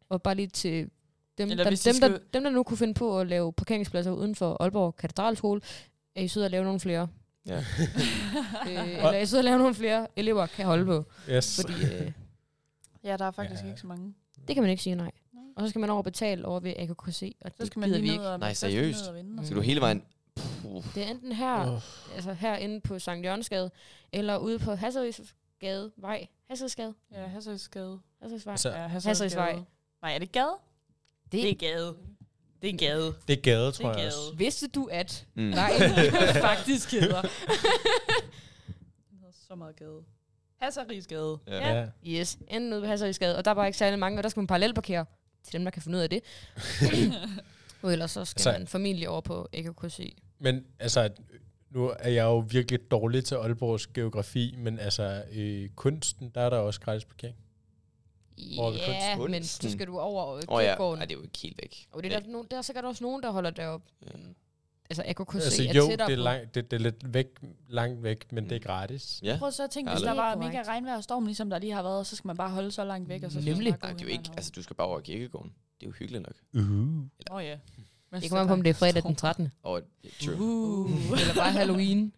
B: Og bare lige til dem,
D: Eller
B: der, dem,
D: hvis de
B: der,
D: skal-
B: dem, der nu kunne finde på at lave parkeringspladser uden for Aalborg Katedralskole, er I søde at lave nogle flere.
C: Ja.
B: øh, eller jeg sidder og laver nogle flere elever, kan jeg holde på.
A: Yes.
B: Fordi øh,
D: Ja, der er faktisk
A: Ja.
D: ja. ikke så mange.
B: det kan man ikke sige nej.
D: Nej.
B: Og så skal man over og betale over ved AKKC, og
D: Så
B: det
D: skal man
B: gider vi
D: lige
B: ikke.
D: ned og,
C: Nej,
D: så skal man ned
C: seriøst? Mm.
D: og vinde, og
C: Skal
D: så-
C: du hele vejen... Puh.
B: Det er enten her,
A: Oh,
B: altså herinde på Sankt Jørgensgade, eller ude på Hasserisgade, vej, Hasserisgade,
D: Ja, Hasselskade.
B: Hasserisvej.
A: altså,
D: Ja,
B: Hasseløsvej.
D: Hasselskade. Nej, er det gade?
G: Det,
D: Det er gade. Det er gade.
A: det er gade,
D: Det
A: tror
D: er
A: jeg
D: gade.
A: også.
G: vidste du at?
C: Mm.
G: Nej,
D: faktisk hedder. Den hedder så meget gade. Hasserigsgade.
C: Ja.
A: Ja.
B: Yes, enten ude på Hasserisgade, og der var ikke særlig mange, og der skal man parallelparkere til dem, der kan finde ud af det. og ellers så skal
A: Altså-
B: altså, man familie over på AKKC.
A: Men altså, nu er jeg jo virkelig dårlig til Aalborgs geografi, men altså, øh, kunsten, der er der også gratis parkering. Over ved
B: Ja, men
C: kunsten.
B: så skal du over
C: Åh ja,
B: kirkegården.
C: Ej, Mm. det er jo ikke helt væk.
B: Og det er der, nogen, der er sikkert også nogen, der holder deroppe.
C: Ja.
B: Altså, AKKC
A: Altså
B: er
A: jo, det
B: tættere
A: er,
B: på.
A: langt, det, det er lidt væk, langt væk, men
C: Mm.
A: det er gratis.
C: Ja.
D: Prøv så at tænke,
C: Ja,
D: hvis der
B: det er
D: var
B: korrekt.
D: mega regnvejr og storm, ligesom der lige har været, så skal man bare holde så langt væk. Og så skal
G: Nemlig.
D: man bare
C: Nej,
D: gå
C: det er jo
D: hen
C: ikke... Altså, du skal bare over kirkegården. Det er jo hyggeligt nok.
A: Uh.
D: henover. Åh ja. Men
B: Det
D: så
B: kommer an på, om det er fredag den
D: storm.
B: 13.
C: Over, yeah, true.
D: Uh.
B: Eller bare Halloween.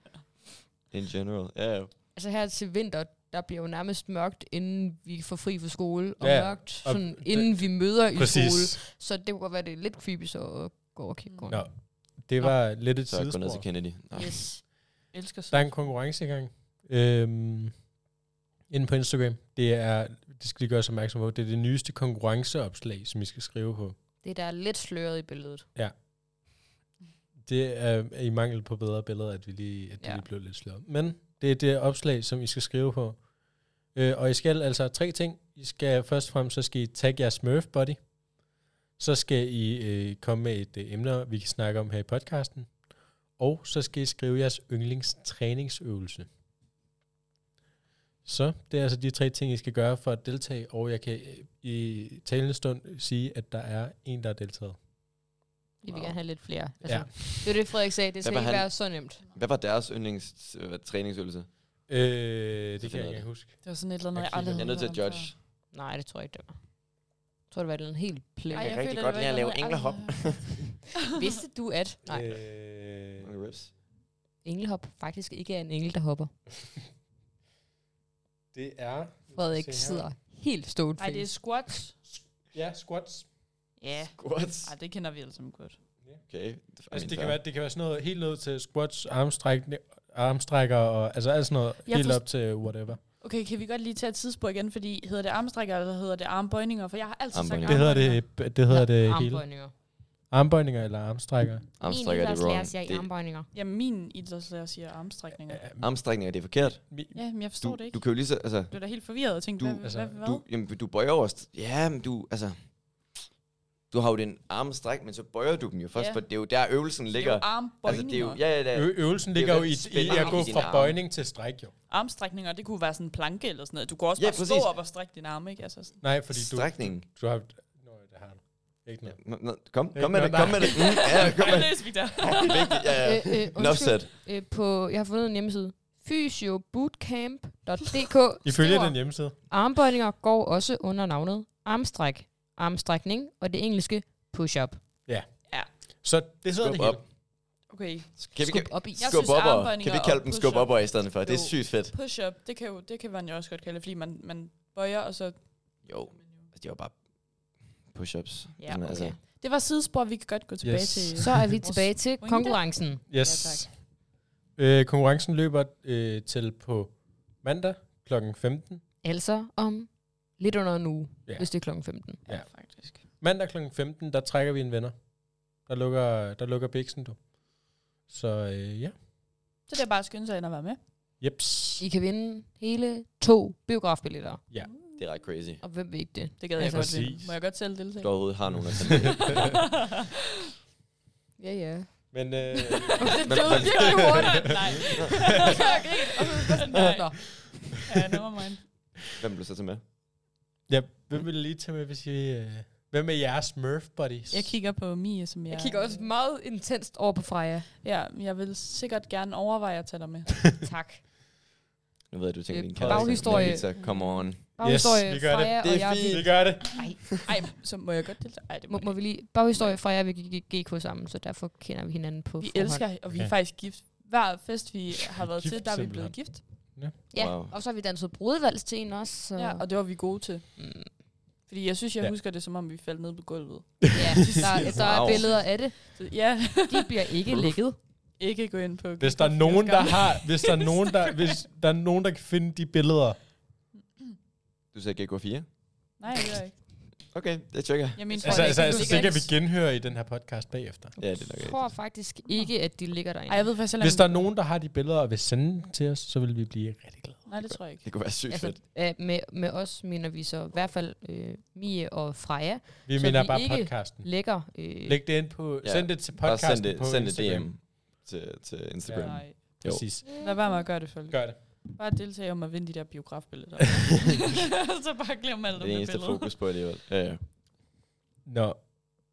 C: In general. Ja, ja.
B: Altså her til vinter, der bliver jo nærmest mørkt, inden vi får fri fra skole. Og
A: Ja,
B: ja, mørkt,
A: og
B: sådan,
A: det-
B: inden vi møder i skole.
A: Præcis.
B: Så det kunne godt være, det er lidt creepy så at gå over kirkegården.
A: Nå, det var lidt et
C: Så jeg går ned til
A: sidespor.
C: Kennedy. Nå.
B: Yes.
D: Elsker
A: Der
D: så.
A: er en konkurrence i gang. Øhm, inde på Instagram. Det er, det skal lige gøres opmærksom på, det er det nyeste konkurrenceopslag, som I skal skrive på.
B: Det der er lidt sløret i billedet.
A: Det er i mangel på bedre billeder, at vi lige, at det
B: Ja.
A: lige blev lidt slået. Men det er det opslag, som I skal skrive på. Øh, og I skal altså tre ting. I skal først og fremmest, så skal I tagge jeres Smurf Buddy. Så skal I øh, komme med et øh, emne, vi kan snakke om her i podcasten. Og så skal I skrive jeres yndlingstræningsøvelse. Så det er altså de tre ting, I skal gøre for at deltage, og jeg kan øh, i talende stund sige, at der er en, der har deltaget.
B: Vi vil
C: Wow.
B: gerne have lidt flere. Altså,
A: Altså,
B: ja. Det er det, Frederik sagde. Det skal
C: var
B: ikke
C: han-
B: være så nemt.
C: Hvad var deres yndlings øh, træningsøvelse?
A: ja. øh,
C: Så
A: det kan
C: finder
A: jeg
C: jeg
A: ikke huske.
D: Det var sådan et eller andet,
A: Jeg
D: jeg aldrig
C: Jeg er
A: kigger-
C: nødt til at
D: hørt om
C: judge.
D: før.
B: Nej, det tror jeg ikke, det var. Jeg tror, det var den helt
D: Ej,
B: plæne.
C: kan
D: jeg
C: rigtig
D: føler,
C: godt
D: det var
C: lide at
D: et
C: lave
D: eller andet, jeg
C: englehop.
D: aldrig-
B: Vidste du at? Nej,
A: Øh,
C: Mange rips.
B: englehop faktisk ikke er en engel, der hopper.
A: det er...
B: Frederik
A: Se her.
B: sidder helt stående.
D: Ej, det er squats.
A: Ja, squats.
D: Ja.
C: Squats.
D: Ej, det kender vi alle sammen godt.
C: Okay. Det, er
A: Altså,
C: min
A: det, kan
C: far.
A: være, det kan være sådan noget helt ned til squats, armstrækning, armstrækker og altså alt sådan noget
D: Jeg
A: helt
D: forst-
A: op til whatever.
D: Okay, kan vi godt lige tage et tidsspur igen, fordi hedder det armstrækker, eller hedder det armbøjninger? For jeg har altid sagt
C: Armbøjninger.
A: Det hedder
D: armbøjninger.
A: det, det, hedder det hele.
B: Armbøjninger.
A: Armbøjninger eller armstrækker.
C: Armstrækker, det er wrong.
B: siger ikke
C: Det-
B: armbøjninger.
D: Jamen, min idrætslærer siger armstrækninger. Ja,
C: Armstrækninger, det er forkert.
D: men jeg forstår
C: Du,
D: det ikke.
C: du kan jo lige så... Altså,
D: Du er da helt forvirret og tænkte,
C: Du-
D: hvad,
A: altså,
D: altså, hvad, hvad?
C: du, jamen, du bøjer over... st- Ja, men du... Altså, du har jo den armstræk, men så bøjer du dem jo først,
D: Ja.
C: for det er jo der øvelsen ligger.
D: Det er jo
C: altså, det er jo,
D: armbøjninger.
C: ja, ja, det er,
A: Ø- øvelsen
C: Det er
A: ligger
C: jo
A: jo i,
C: lidt
A: i
C: spænding
A: at gå
C: i dine
A: fra
C: arme.
A: bøjning til stræk, jo.
D: Armstrækninger, det kunne være sådan en planke eller sådan noget. Du kunne også
C: Ja,
D: ja, bare stå
C: præcis.
D: op og strække din arme, ikke? Altså sådan.
A: Nej, fordi du,
C: strækningen.
A: du har... Nå, det har du. Ikke noget.
C: Nå, nå, Kom,
A: Ikke
C: kom med
A: noget,
C: det, kom med det. Mm, Ja, kom med det.
D: løs vi der.
C: Vigtigt, ja, ja.
B: Øh, øh,
C: Enough
B: undskyld.
C: said.
B: Øh, på, jeg har fundet en hjemmeside. Fysiobootcamp.dk
A: Ifølge
B: skriver,
A: den hjemmeside.
B: Armbøjninger går også under navnet armstræk, armstrækning og det engelske push-up.
A: Så det hedder det
C: Skub
A: hele.
C: op.
D: Okay,
C: Kan vi,
B: Skub op i.
D: Jeg
C: skub
D: synes,
C: opper. Kan
D: armbøjninger
C: vi kalde
D: og
C: dem
D: push-up.
C: skub opper i stedet for? Det er
D: Jo.
C: sygt fedt.
D: push-up, det kan, jo, det kan man jo også godt kalde det, fordi man, man bøjer, og så...
C: Jo, altså, det var bare push-ups. altså,
B: Ja,
C: Sådan,
B: okay.
D: Det var sidespor, vi kan godt gå tilbage
A: Yes.
D: til.
B: Så er vi tilbage til
D: Pointe.
B: konkurrencen.
A: Yes. Ja, øh, konkurrencen løber øh, til på mandag kl. 15.
B: Altså om lidt under en uge,
A: Ja.
B: ja. hvis det er klokken 15.
A: Ja.
D: ja, faktisk.
A: Mandag kl. 15, der trækker vi en venner. Der lukker, der lukker Bixen, du. Så øh, ja.
D: Så det er bare at skynde sig ind og være med.
A: Jeps.
B: I kan vinde hele to biografbilletter.
C: Det er ret crazy.
B: Og hvem ved ikke det?
D: Det gad jeg
B: Altså,
D: godt
A: præcis.
D: vinde. Må jeg godt selv deltage?
C: Du overhovedet har nogen at tage med.
B: Ja, ja.
A: Men øh,
B: det
C: Men-
B: blev
C: men-
B: virkelig hurtigt.
D: Nej.
B: Okay.
D: Nej.
B: Nå,
D: Ja, never mind.
C: Hvem blev så til med?
A: ja, hvem vil lige tage med, hvis I... Øh, hvem er jeres Smurf buddies?
D: Jeg kigger på Mie, som jeg...
B: jeg kigger også meget intenst over på Freja.
D: Ja, jeg vil sikkert gerne overveje at tage dig med.
B: Tak.
C: Nu ved jeg, du tænker
B: Øh,
C: din kæreste.
B: baghistorie.
C: Melissa, come on.
B: Baghistorie,
A: vi gør det.
B: Freja
C: Det
B: og
C: er
B: jeg, vi-
C: fint.
A: Vi gør det.
D: Ej, så må jeg godt deltage? Ej, det
B: Må,
D: må,
B: må vi lige... Baghistorie, Freja og jeg, vi gik i GK sammen, så derfor kender vi hinanden på
D: Vi
B: forhånd.
D: elsker, og vi
A: Okay.
D: er faktisk gift hver fest, vi har været
A: Gift,
D: til, der er vi
A: simpelthen.
D: blevet gift.
B: Ja,
C: Wow.
B: og så har vi danset brudvals til en også. Så.
D: Ja, og det var vi gode til.
B: Mm.
D: Fordi jeg synes, jeg
A: Ja.
D: ja. husker det, som om vi faldt ned på gulvet.
B: ja der, er- der er
C: Wow.
B: billeder af det.
D: Så ja,
B: De bliver ikke lækket.
D: ikke gå ind på...
A: Hvis der er nogen, der har, hvis der er nogen, der, hvis der er nogen, der kan finde de billeder,
C: Du sagde GK4?
D: Nej, det er jeg ikke.
C: Okay, det tjekker jeg.
D: Jeg mener,
A: altså,
D: folk,
A: altså,
D: der
A: altså,
D: ikke
A: det
D: kan
A: kan vi
D: gå
A: genhøre i den her podcast bagefter.
C: Ja, det er nok
B: Jeg
C: rigtigt.
B: tror faktisk ikke, at de ligger
D: ind.
B: derinde.
D: Ej, jeg ved faktisk heller
A: Hvis
D: ikke...
A: der er nogen, der har de billeder og vil sende dem til os, så vil vi blive rigtig glade.
D: Nej, det tror jeg ikke.
C: Det kunne være sygt
B: altså,
C: fedt.
B: øh, med, med os mener vi så i hvert fald øh, Mie og Freja
A: Vi
B: Så
A: mener
B: vi
A: bare
B: ikke-
A: podcasten.
B: lægger. Øh,
A: Læg det ind på,
C: Ja,
A: send det til
C: Bare
A: podcasten
C: send
A: på
C: det, send det
A: Instagram.
C: DM til, til Instagram.
D: Nej.
C: Jo.
A: Præcis.
D: Lad være med at gøre det, folk.
A: Gør det.
D: Bare deltage om at vinde de der biografbilleder. så bare glem alt
C: Det
D: om
C: er det eneste
D: billede.
C: fokus på alligevel. Ja, ja.
A: Nå,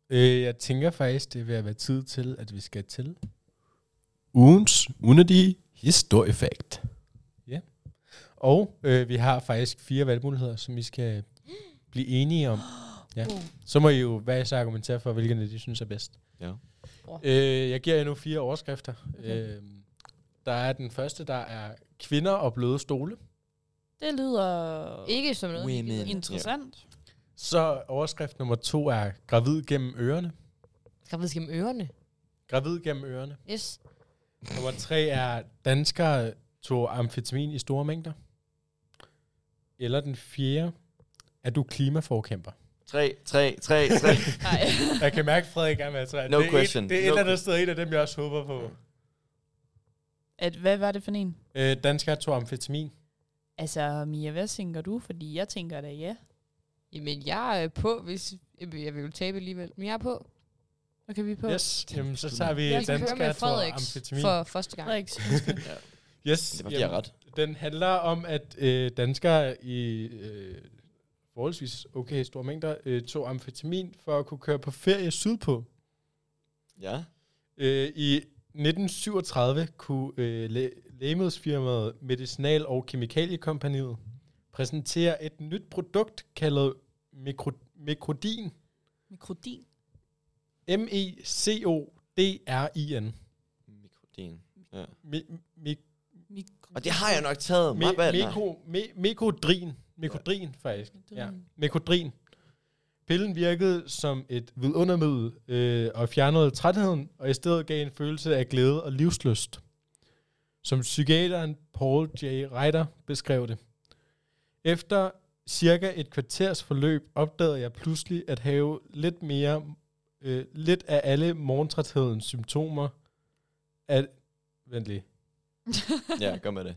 A: øh, jeg tænker faktisk, det er ved at være tid til, at vi skal til ugens unødige historiefakt. Ja. Og øh, vi har faktisk fire valgmuligheder, som vi skal blive enige om. Ja. Så må I jo hver især argumentere for, hvilken af de synes er bedst.
C: Ja.
A: Øh, jeg giver jer nu fire overskrifter. Okay. Øh, der er den første, der er kvinder og bløde stole.
D: Det lyder
B: Ikke som noget. vi
C: Women.
B: gider.
D: interessant.
A: Så overskrift nummer to er gravid gennem ørerne.
B: Skal vi gennem ørerne?
A: Gravid gennem ørerne.
B: Yes.
A: Nummer tre er, danskere tog amfetamin i store mængder. Eller den fjerde, er du klimaforkæmper?
C: 3, 3, 3, 3.
D: Nej.
A: Jeg kan mærke, at Frederik er med at træde.
C: No
A: det er
C: question.
A: Et, det er et
C: No
A: eller andet
C: question.
A: sted, en af dem, jeg også håber på.
D: At, hvad var det for en?
A: Øh, danskere tog amfetamin.
D: Altså, Mia, hvad tænker du? Fordi jeg tænker da ja.
B: Jamen, jeg er på, hvis... Jamen, Jeg vil jo tabe alligevel, men jeg er på.
D: Hvad kan vi på?
A: Yes, jamen, så tager vi
B: Jeg skal køre
A: danskere
B: med
A: tog
B: Frederiks
A: amfetamin.
B: for første gang.
D: Frederik,
A: Yes,
C: Det var fordi, jeg er ret.
A: den handler om, at øh, danskere i øh, forholdsvis okay store mængder øh, tog amfetamin for at kunne køre på ferie sydpå.
C: Ja.
A: Øh, I 1937 kunne øh, læ- lægemiddelsfirmaet Medicinal- og Kemikaliekompaniet præsentere et nyt produkt kaldet mikro- mikrodin. E
D: Mikrodin.
A: M-E-C-O-D-R-I-N.
C: Mikrodin.
A: Mi- mi-
D: Mikro-
C: Og det har jeg nok taget.
A: mi-
C: Meget bad, nej.
A: mikro- mi- Mikodrin. Mikodrin, faktisk. Ja. Mekodrin. Pillen virkede som et vidundermiddel øh, og fjernede trætheden, og i stedet gav en følelse af glæde og livsløst. Som psykiateren Paul J. Reiter beskrev det. Efter cirka et kvarters forløb opdagede jeg pludselig at have lidt mere, øh, lidt af alle morgentræthedens symptomer. At, vent lige.
C: Ja, gør med det.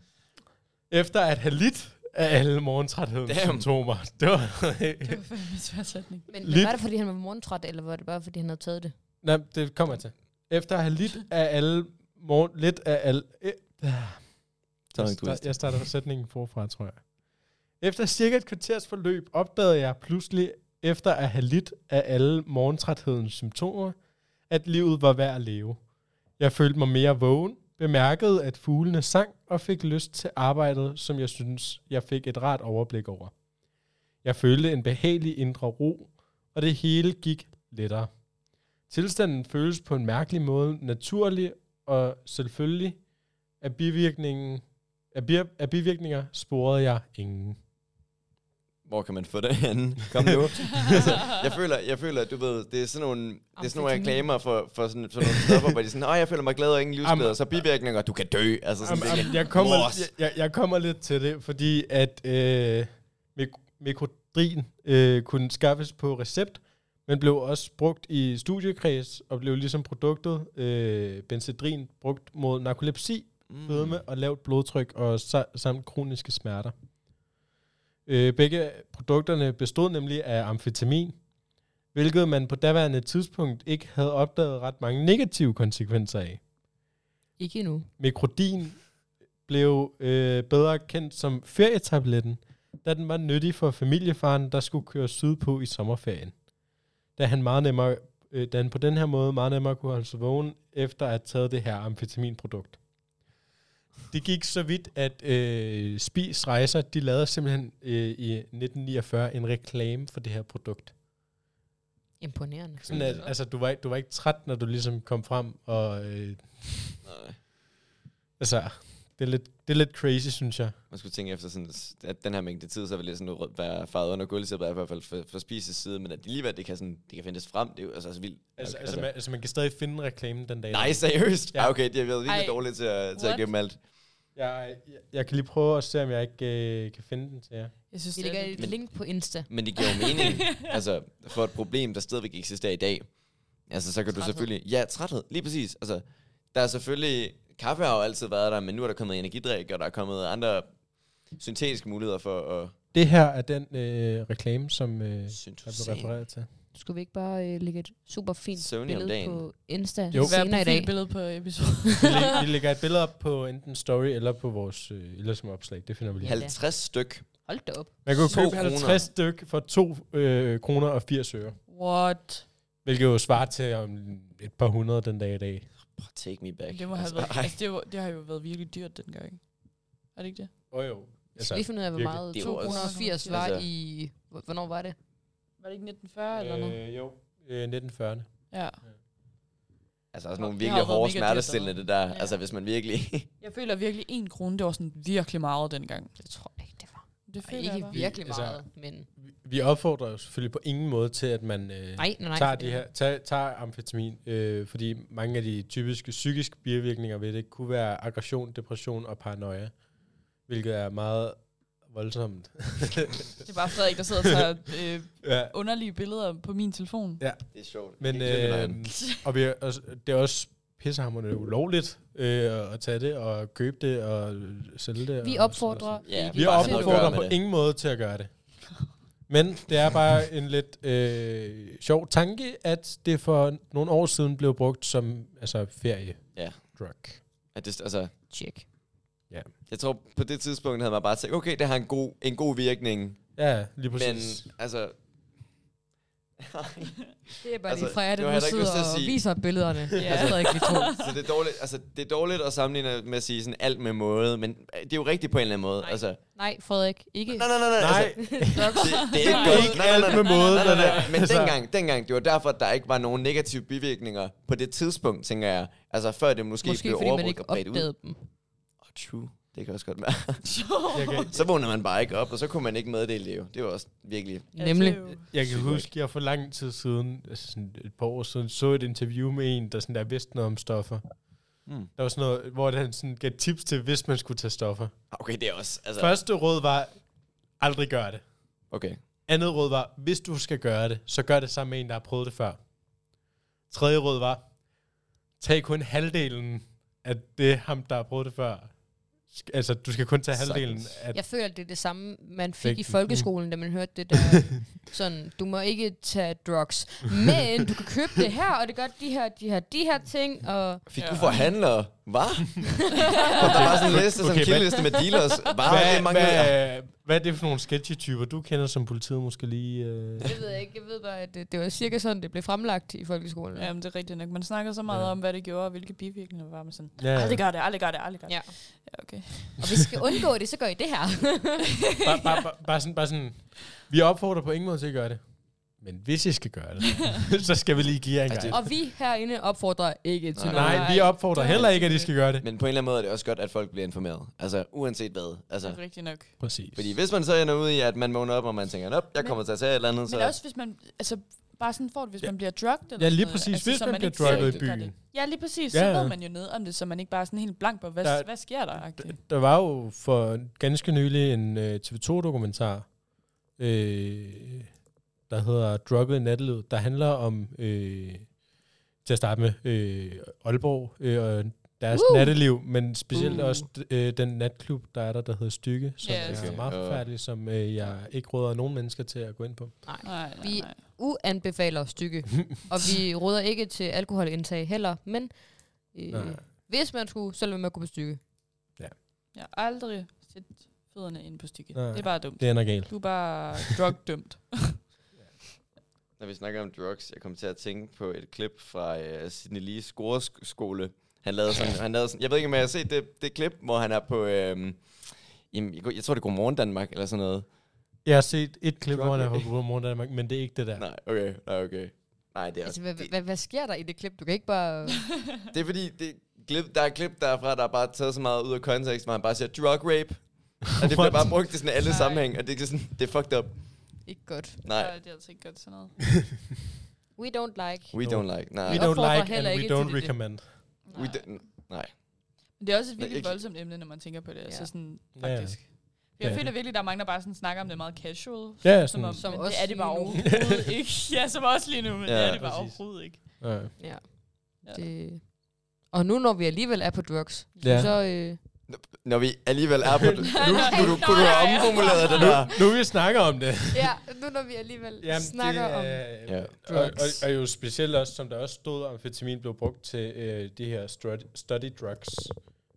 A: Efter at have lidt af alle morgentræthedens
C: Damn.
A: symptomer. Det var,
D: Det var fandme en svær sætning.
B: Men, men
A: Lidt.
B: var det, fordi han var morgentræt, eller var det bare, fordi han havde taget det?
A: Nej, det kommer jeg til. Efter at have lidt af alle morgen, lidt af alle... Øh,
C: Tongue
A: jeg,
C: twist.
A: start, jeg starter sætningen forfra, tror jeg. Efter cirka et kvarters forløb opdagede jeg pludselig, efter at have lidt af alle morgentræthedens symptomer, at livet var værd at leve. Jeg følte mig mere vågen, bemærkede, at fuglene sang og fik lyst til arbejdet, som jeg synes, jeg fik et rart overblik over. Jeg følte en behagelig indre ro, og det hele gik lettere. Tilstanden føles på en mærkelig måde naturlig, og selvfølgelig af bivirkningen af, bir- af bivirkninger sporede jeg ingen.
C: Hvor kan man få det henne? Kom nu. altså, jeg, føler, jeg føler, du ved, det er sådan nogle, det er sådan nogle
B: Amfetamin.
C: reklamer for, for sådan, sådan nogle stoffer, hvor de er sådan, åh, jeg føler mig glad og ingen livsglæde,
A: Am-
C: og så bivirkninger, du kan dø. Altså
A: Am,
C: sådan, det er
A: am,
C: lidt-
A: jeg, kommer,
C: Mors.
A: jeg, jeg, jeg kommer lidt til det, fordi at øh, mik- mikrodrin øh, kunne skaffes på recept, men blev også brugt i studiekreds og blev ligesom produktet øh, benzedrin brugt mod narkolepsi,
C: Mm.
A: fedme og lavt blodtryk og sa- samt kroniske smerter. Øh, begge produkterne bestod nemlig af amfetamin, hvilket man på daværende tidspunkt ikke havde opdaget ret mange negative konsekvenser af.
B: Ikke endnu.
A: Mikrodin blev øh, bedre kendt som ferietabletten, da den var nyttig for familiefaren, der skulle køre sydpå i sommerferien. Da han, meget nemmere, øh, da han på den her måde meget nemmere kunne holde sig vågen, efter at have taget det her amfetaminprodukt. Det gik så vidt, at øh, Spis Rejser, de lavede simpelthen øh, i 1949 en reklame for det her produkt.
B: Imponerende.
A: Sådan at, altså, du var, ikke- du var ikke træt, når du ligesom kom frem og øh,
C: Nej.
A: Altså, det er lidt, det er lidt crazy, synes jeg.
C: Man skulle tænke efter, sådan, at den her mængde tid, så vil det sådan noget rød- være farvet under gulvsæppet, i hvert fald for, for spises side, men at det alligevel, det kan, sådan, det kan findes frem, det er jo altså, altså vildt.
A: Altså, okay, altså,
C: altså,
A: man, altså, man kan stadig finde reklamen den dag. i dag.
C: nej, seriøst?
A: Ja.
C: Ja. Ah, okay, det har været
F: Ej.
C: virkelig dårligt til at, til at
F: What?
C: gemme alt.
A: Jeg, jeg, jeg kan lige prøve at se, om jeg ikke øh, kan finde den til jer.
D: Jeg synes,
B: Vi
D: det
B: lægger
D: er
B: et
C: Men-
B: link på Insta.
C: Men det giver jo mening, altså, for et problem, der stadigvæk eksisterer i dag. Altså, så kan træthed. du
B: Træthed.
C: selvfølgelig... Ja, træthed, lige præcis. Altså, der er selvfølgelig... Kaffe har jo altid været der, men nu er der kommet energidrik, og der er kommet andre syntetiske muligheder for at...
A: Det her er den øh, reklame, som øh, der blev
C: Syntetisere.
A: refereret til.
B: Skulle vi ikke bare øh, lægge et super fint
C: Søvnig om
B: billede
C: dagen.
B: på Insta
A: Jo.
B: jo. senere i dag?
D: billede på episode.
A: Vi, læg, vi lægger et billede op på enten story eller på vores øh, eller som opslag. Det finder vi lige.
C: 50 styk.
B: Hold da op.
A: Man kunne
C: To
A: købe
C: kroner.
A: 50 styk for 2 øh, kroner og 80 øre.
D: What?
A: Hvilket jo svarer til om et par hundrede den dag i dag.
C: Oh, take me back.
D: Det, må have
C: Altså,
D: været,
C: ej,
D: altså, det, var, det har jo været virkelig dyrt dengang. Er det ikke det?
A: Åh oh, jo.
B: Altså, vi
A: Altså,
B: finder ud af, hvor
A: virkelig.
B: meget
C: Det er jo også-
B: 280 var
C: Altså-
B: i... hvor- Hvornår var det?
D: Var det ikke 1940 øh, eller noget?
A: øh, jo, øh, 1940.
D: Ja.
C: altså også nogle
D: Det har
C: virkelig
D: jo
C: hårde
D: været mega dyrt,
C: smertestillende, det der. Ja.
D: Ja.
C: Altså, hvis man virkelig...
D: Jeg føler virkelig, en krone, det var sådan virkelig meget dengang.
B: Jeg tror ikke, det var.
D: Det
B: Ej,
D: føler
B: ikke
D: jeg bare.
B: virkelig
A: Altså-
B: meget, men...
A: Vi- Vi opfordrer jo selvfølgelig på ingen måde til, at man øh,
B: Nej, nej, nej.
A: tager,
B: for
A: de her, tager, tager amfetamin, øh, fordi mange af de typiske psykiske bivirkninger ved det kunne være aggression, depression og paranoia, hvilket er meget voldsomt.
D: Det er bare Frederik, der sidder og tager øh,
A: ja.
D: underlige billeder på min telefon.
C: Det er sjovt.
A: Men
C: Det er
A: øh, og vi, er også, det er også pissehammerende ulovligt øh, at tage det og købe det og sælge det.
B: Vi
A: og-
B: opfordrer
C: Ja,
B: ikke
A: Vi
C: bare sådan noget at
A: opfordrer
C: gøre
A: på
C: med det.
A: ingen måde til at gøre det. Men det er bare en lidt øh, sjov tanke, at det for nogle år siden blev brugt som altså ferie.
C: Ja.
A: Drug.
C: at det, altså,
B: Tjek.
C: jeg tror, på det tidspunkt havde man bare tænkt, okay, det har en god, en god virkning,
A: Ja, lige
C: men
A: præcis. Men,
C: altså...
B: Det er bare
C: Altså,
B: altså, lige Freja,
C: det var
B: der
C: heller ikke
B: sidder
C: lyst til at
B: og
C: sige-
B: viser billederne.
D: Ja.
B: ja. Jeg ved ikke, vi tror.
C: så det er, dårligt, altså, det er dårligt at sammenligne med at sige sådan alt med måde, men øh, det er jo rigtigt på en eller anden måde.
B: Nej.
C: Altså, nej,
B: Nej, Frederik, ikke.
C: nej, nej, nej.
A: Nej,
C: Altså, det, det er ikke
A: det er
C: godt.
A: ikke
C: Nej, nej, nej,
A: alt med måde.
C: nej, nej,
A: det
C: nej.
A: der.
C: Men dengang, dengang, det var derfor, at der ikke var nogen negative bivirkninger på det tidspunkt, tænker jeg. Altså før det måske,
B: Måske
C: blev
B: fordi man
C: overbrugt
B: ikke
C: og bredt ud.
B: opdagede dem.
C: Oh, true. Det kan også godt være.
A: Jeg kan,
C: Så vågner man bare ikke op, og så kunne man ikke meddele det jo. Det var også virkelig...
B: Nemlig.
A: jeg kan
C: Sygt
A: huske, jeg for lang tid siden, altså sådan et par år siden, så et interview med en, der, sådan der vidste noget om stoffer.
C: Mm.
A: Der var sådan noget, hvor han sådan gav tips til, hvis man skulle tage stoffer.
C: Okay, det er også... Altså,
A: Første råd var, aldrig gør det.
C: okay.
A: Andet råd var, hvis du skal gøre det, så gør det sammen med en, der har prøvet det før. Tredje råd var, tag kun halvdelen af det ham, der har prøvet det før. Sk- Altså, du skal kun tage
C: Sagtens.
A: halvdelen af...
B: Jeg føler, det er det samme, man fik i
A: Vægten.
B: folkeskolen, da man hørte det der. Sådan, du må ikke tage drugs, men du kan købe det her, og det gør de her, de her, de her ting, og
C: Fik
D: Ja.
C: du forhandlere? Hvad? og der var sådan en liste, sådan
A: Okay, hvad-
C: en kildeliste med dealers. Hvad?
A: Hvad,
C: Ah, det mangler jeg.
A: hvad, hvad er det for nogle sketchy-typer, du kender, som politiet måske lige... Øh...
B: det ved jeg ikke. Jeg ved bare, at det, det var cirka sådan, det blev fremlagt i folkeskolen.
D: Jamen, det er rigtigt nok. Man snakker så meget
A: Ja.
D: ja. om, hvad det gjorde, og hvilke bivirkninger der var. Men sådan,
A: Ja,
D: aldrig gør det, aldrig gør det, aldrig gør det.
B: Ja.
D: Ja, okay.
B: Og hvis vi skal undgå det, så gør I det her.
A: bare, bare, bare, bare, sådan, bare sådan... Vi opfordrer på ingen måde til at gøre det. Men hvis I skal gøre det, så skal vi lige give jer en
C: Ej, det-
A: gang.
B: og vi herinde opfordrer ikke til
C: Nej.
B: noget.
A: Nej, vi opfordrer heller ikke, at I skal gøre det.
C: Men på en eller anden måde er det også godt, at folk bliver informeret. Altså, uanset hvad.
D: Det
C: Altså,
D: er rigtigt nok.
A: Præcis.
C: fordi hvis man så ender ud i, at man vågner op, og man tænker, op, jeg
D: Men-
C: kommer til at tage et eller andet,
D: Men
C: så...
D: også hvis man, altså bare sådan får det, hvis
A: Ja.
D: ja. man bliver drugged eller
A: Ja, lige
D: sådan noget,
A: præcis.
D: altså,
A: Hvis
D: så
A: man bliver
D: ikke selv
C: drugget i
D: gør det.
A: byen.
D: Ja, lige præcis.
A: Ja,
D: Så
A: ja.
D: ved man jo noget om det, så man ikke bare er sådan helt blank på, hvad,
A: Der-
D: hvad sker der?
A: D-
D: agtigt.
A: Der var jo for ganske nylig en øh, TV2-dokumentar, øh, der hedder Drugget i nattelivet, der handler om, øh, til at starte med, øh, Aalborg øh, og deres
B: Woo! Mm.
A: natteliv, men specielt
C: Uh.
A: også d- øh, den natklub, der er der, der hedder Stykke, som
D: Ja,
A: yes. er
C: okay.
A: meget
C: Og-
A: forfærdelig, som øh, jeg ikke råder nogen mennesker til at gå ind på.
D: Nej, nej,
B: Vi-
D: nej.
B: Uanbefaler stykke. Og vi råder ikke til alkoholindtag heller, men øh,
A: Nej.
B: hvis man skulle, så lad være med at gå på stykke.
D: Jeg har aldrig set fødderne inde på stykket.
A: Nej.
D: Det er bare dumt.
A: Det ender galt.
D: Du er bare drugdømt.
C: Når vi snakker om drugs, jeg kom til at tænke på et klip fra uh, Sidney Lees scoreskole. Han lavede sådan, han lavede sådan, jeg ved ikke, om jeg har set det, det klip, hvor han er på, øhm, jamen, jeg, jeg tror, det er Godmorgen Danmark, eller sådan noget.
A: Jeg har set et klip, hvor han er
C: Drugget.
A: på Godmorgen Danmark, men det er ikke det der.
C: Nej, okay, nej, okay. Nej, det
B: Altså,
C: er, også,
B: hvad,
C: det,
B: hvad, hvad sker der i det klip? Du kan ikke bare...
C: det er fordi, det, Klip, der er klip derfra, der er bare taget så meget ud af kontekst, hvor han bare siger drug rape. Og det bliver bare brugt i sådan alle
D: Nej.
C: sammenhæng, og det er sådan, det er fucked up.
B: Ikke godt.
C: Nej,
D: Så er det altså ikke godt sådan noget.
B: We don't like.
C: we don't like. Nej,
A: We
B: Jeg
A: don't
B: opfordrer
A: like, and
B: heller
A: we
B: ikke til
A: don't
B: det.
A: recommend.
D: Nej.
C: we don't, nej.
D: Men det er også et
C: Men
D: virkelig
C: ikke-
D: voldsomt emne, når man tænker på det. Altså
B: Ja.
D: sådan,
A: Ja, ja.
D: faktisk.
A: Ja,
D: Jeg
A: ja.
D: føler virkelig, der er mange, der bare sådan snakker om det meget casual.
A: Ja, ja,
D: som
A: sådan.
D: om,
B: Som
D: som
B: os
D: det er det bare
B: lige nu.
D: overhovedet ikke. Ja, som også lige nu, men
C: Ja.
D: det er det bare
A: Præcis.
D: overhovedet ikke.
A: Ja.
B: Ja.
D: Ja.
B: Det. Og nu når vi alligevel er på drugs,
A: Ja.
B: ja. så øh,
C: Når vi alligevel er på det.
D: Nej,
C: Nu
D: nej,
C: kunne du, kunne du have
D: nej.
C: omformuleret det der.
A: Nu vi snakker om det.
B: ja, nu når vi alligevel Jamen, snakker det, om
A: øh,
C: Ja.
A: Og, og,
B: drugs.
A: og jo specielt også, som der også stod, at amfetamin blev brugt til øh, de her strut- study drugs.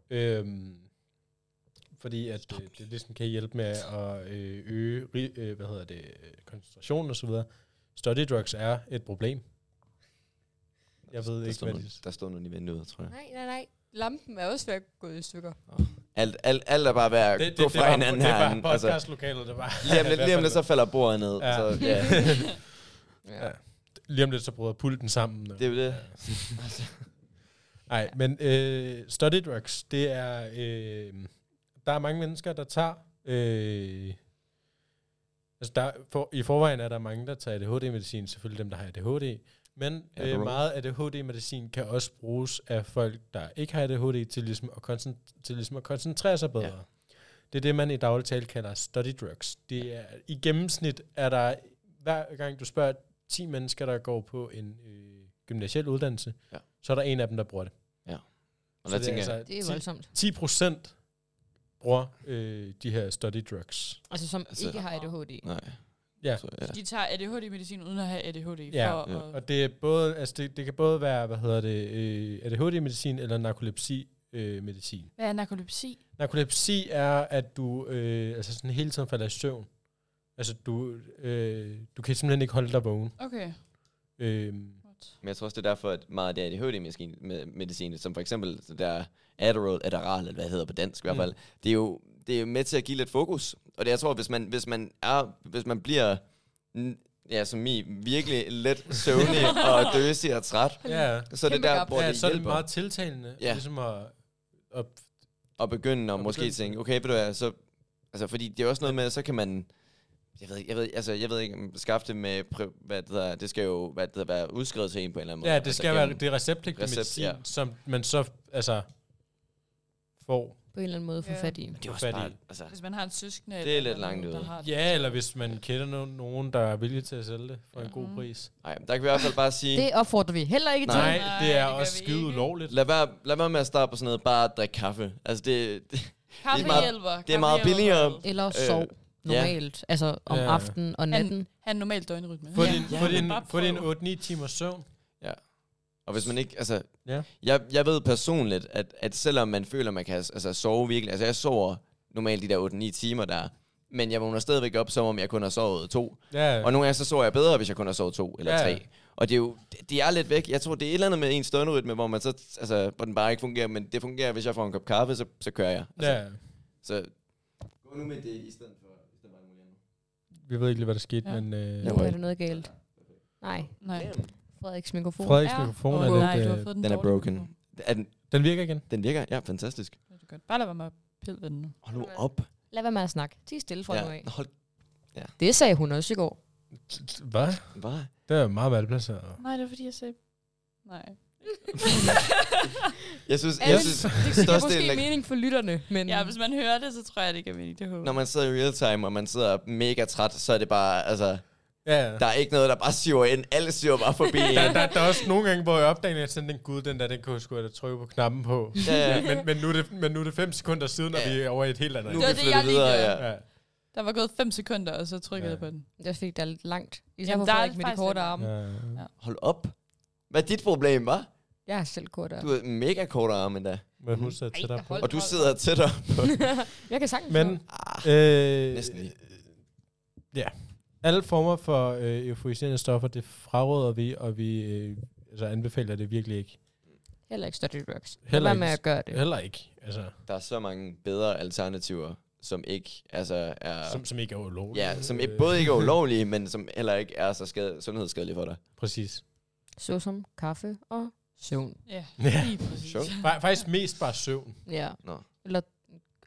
A: Øhm, fordi at øh, det ligesom kan hjælpe med at øh, øge ri- øh, hvad hedder det, øh, koncentrationen osv. Study drugs er et problem. Jeg ved
C: Der
A: ikke,
C: stod,
A: hvad
C: nogen,
A: det
C: der stod nogen i vinduet, tror jeg.
B: Nej, nej, nej. Lampen er også ved at gå i stykker.
C: Alt, alt, alt er bare ved at gå fra
A: var-
C: hinanden
A: det var
C: herinde. Altså,
A: podcastlokalet, det var.
C: lige om lidt, lige om lidt, så falder bordet ned.
A: Ja.
C: Så, ja.
A: Ja. Lige om lidt, så bryder pulten sammen. og-
C: Det er jo det.
A: Nej, men øh, study drugs, det er... Øh, der er mange mennesker, der tager... Øh, altså, der, for, i forvejen er der mange, der tager ADHD-medicin. Selvfølgelig dem, der har ADHD. Men øh,
C: Adderall.
A: meget ADHD-medicin kan også bruges af folk, der ikke har ADHD, til ligesom at, koncent- til ligesom at koncentrere sig bedre.
C: Ja.
A: Det er det, man i daglig tale kalder study drugs. Det er, I gennemsnit er der, hver gang du spørger 10 mennesker, der går på en øh, gymnasiel uddannelse,
C: Ja.
A: så er der en af dem, der bruger det.
C: Og
A: Så
C: der tænker jeg,
B: Det er voldsomt.
A: 10 procent bruger øh, de her study drugs.
B: Altså, som
C: Altså-
B: altså, ikke har ADHD.
C: nej.
A: Ja.
C: Så, ja.
D: De tager ADHD-medicin uden at have ADHD.
A: Ja,
D: for
C: ja.
D: At,
A: Og det, er både, altså det, det kan både være, hvad hedder det, øh, ADHD-medicin eller narkolepsi-medicin.
D: Hvad er narkolepsi?
A: Narkolepsi er, at du øh, altså sådan hele tiden falder i søvn. Altså, du, øh, du kan simpelthen ikke holde dig vågen.
D: Okay.
A: Øh,
C: Men jeg tror også, det er derfor, at meget af det ADHD-medicin, som for eksempel så der Adderall, Adderall, eller hvad det hedder på dansk i hvert
A: Mm.
C: fald, det er jo det er jo med til at give lidt fokus. Og det, jeg tror, hvis man, hvis man, er, hvis man bliver, n- ja, som I, virkelig let søvnig og døsig og træt,
A: ja,
C: så er det
B: Kæmpe
C: der,
B: gap.
C: hvor
A: ja
C: det
A: så er det
C: hjælper
A: meget tiltalende.
C: Ja.
A: Ligesom at, at,
C: at begynde at
A: At
C: måske
A: begynde.
C: tænke, okay, ved du hvad, så, altså, fordi det er også noget med, så kan man, jeg ved, ikke- jeg ved, altså, jeg ved ikke, om skaffe det med, pri- hvad det hedder, det skal jo hvad det hedder, være udskrevet til en på en eller anden måde.
A: ja, det
C: altså,
A: skal være
C: gennem-
A: det receptpligtige
C: Recept,
A: medicin,
C: ja.
A: som man så altså, får
B: På en eller anden måde få
D: Ja.
B: fat i.
C: Det er jo også
A: fat i.
C: bare, altså,
D: Hvis man har en søskende.
C: Det er
D: eller
C: lidt
D: noget,
C: langt
D: der
C: ude.
D: har det.
A: Ja, eller hvis man kender no- nogen, der er villige til at sælge det for en
C: Ja.
A: god
D: Mm.
A: pris.
C: nej, der kan vi i hvert fald bare sige,
B: Det opfordrer vi heller ikke til.
A: Nej,
D: Nej,
A: det er
D: det gør
A: også
D: vi
A: skide
D: ikke.
A: ulovligt.
C: lad være, lad være med at starte på sådan noget, bare at drikke kaffe. Altså, det, det
D: Kaffe
C: Det er meget-
D: hjælper.
C: det er meget
D: Kaffe hjælper
C: billigere.
D: meget.
B: Eller sov
C: Øh,
B: normalt. Altså om
A: Ja.
B: aftenen og natten.
D: Ha' en normal døgnrytme.
A: Få din,
C: Ja,
A: få
C: men
A: din,
D: bare
A: få din
D: prøv.
A: 8-9 timers søvn.
C: Og hvis man ikke, altså,
A: Ja.
C: jeg, jeg ved personligt, at, at selvom man føler, man kan altså, sove virkelig, altså jeg sover normalt de der 8-9 timer der, men jeg vågner stadigvæk op, som om jeg kun har sovet to.
A: Ja,
C: Og nogle gange så sover jeg bedre, hvis jeg kun har sovet to eller
A: Ja.
C: tre. Og det er jo, det, det er lidt væk. Jeg tror, det er et eller andet med ens døgnrytme, hvor man så, altså, hvor den bare ikke fungerer, men det fungerer, hvis jeg får en kop kaffe, så, så kører jeg. Altså,
A: ja.
C: Så gå nu med det i stedet for, i stedet for alt muligt andet.
A: Vi ved ikke lige, hvad der skete,
D: Ja.
A: men øh,
C: Ja.
B: Nu er der noget galt. Nej,
D: Nej.
B: Frederiks mikrofon.
A: Frederiks
D: Ja.
A: mikrofon
D: Åh,
A: er
D: nej,
A: lidt...
D: du har
A: Øh,
D: fået den,
C: Den er
D: dårlige
C: broken.
D: mikrofon.
C: Er den,
A: den virker igen.
C: den virker? Ja, fantastisk.
D: Det er godt. Bare lad være med at pille ved den nu.
C: Hold nu op.
B: Lad være med at snakke. Tig stille fra
C: Ja,
B: ja. nu af.
C: hold,
B: Det sagde hun også i går.
A: Hvad?
C: bare.
A: Det er meget malplaceret.
D: Nej, det er fordi, jeg sagde... Nej.
C: Jeg synes, jeg
B: Ærligt.
C: synes
B: Det er måske
C: størstedelen af-
B: mening for lytterne, men...
D: Ja, hvis man hører det, så tror jeg, det kan mening. Det håber
C: når man sidder i real time, og man sidder mega træt, så er det bare, altså,
A: Ja,
C: der er ikke noget, der bare siver ind. Alle siver bare forbi en.
A: der, der, der er også nogle gange, hvor jeg opdager, at jeg tænkte, den gud, den der, den kunne jeg sgu da trykke på knappen på.
C: Ja, ja.
A: Men, men, nu er det, men nu er det fem sekunder siden, og
C: Ja.
A: vi er over i et helt andet.
C: Nu
D: Det
C: kan
D: var
C: vi
D: det,
C: flytte
D: jeg lige
C: videre,
D: gjorde.
C: ja.
A: Ja.
D: Der var gået 5 sekunder, og så trykkede
A: Ja.
D: jeg på den.
B: Det er fordi, der er lidt langt. Især
D: Jamen,
B: for
D: der er
B: Ligesom Frederik med de
D: faktisk
B: korte arme.
D: lidt
A: Ja.
C: Hold op. Hvad er dit problem, var?
B: Jeg har selv korte
C: Du
B: arme.
C: har mega korte arme endda.
A: Men hun sidder
B: Ej,
A: tættere
B: der
A: på.
B: holdt-
C: Og du sidder tættere på.
B: Jeg kan sagtens
A: Men
B: nå.
C: Ah,
A: øh,
C: næsten lige.
A: Ja. Alle former for øh, euforiserende stoffer, det fraråder vi, og vi øh, altså anbefaler det virkelig ikke.
B: Heller ikke study drugs. Lad
A: Heller
B: være med
A: ikke.
B: at gøre det.
A: Heller ikke. Altså,
C: Der er så mange bedre alternativer, som ikke altså, er...
A: som, som ikke er ulovligt.
C: Ja, som ikke, både ikke er ulovlige, men som heller ikke er så skade, sundhedsskadelige for dig.
A: Præcis.
B: Såsom kaffe og søvn.
D: Ja,
A: Ja.
D: lige præcis.
C: Sjovt.
A: Fa- faktisk mest bare søvn.
B: Ja.
C: Nå.
B: Eller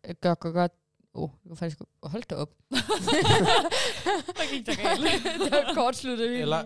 B: øh, gør, gør, gør. Åh, oh, det var faktisk... Hold da op.
D: Der gik der galt.
B: det var et kortsluttet. lige.
A: Eller-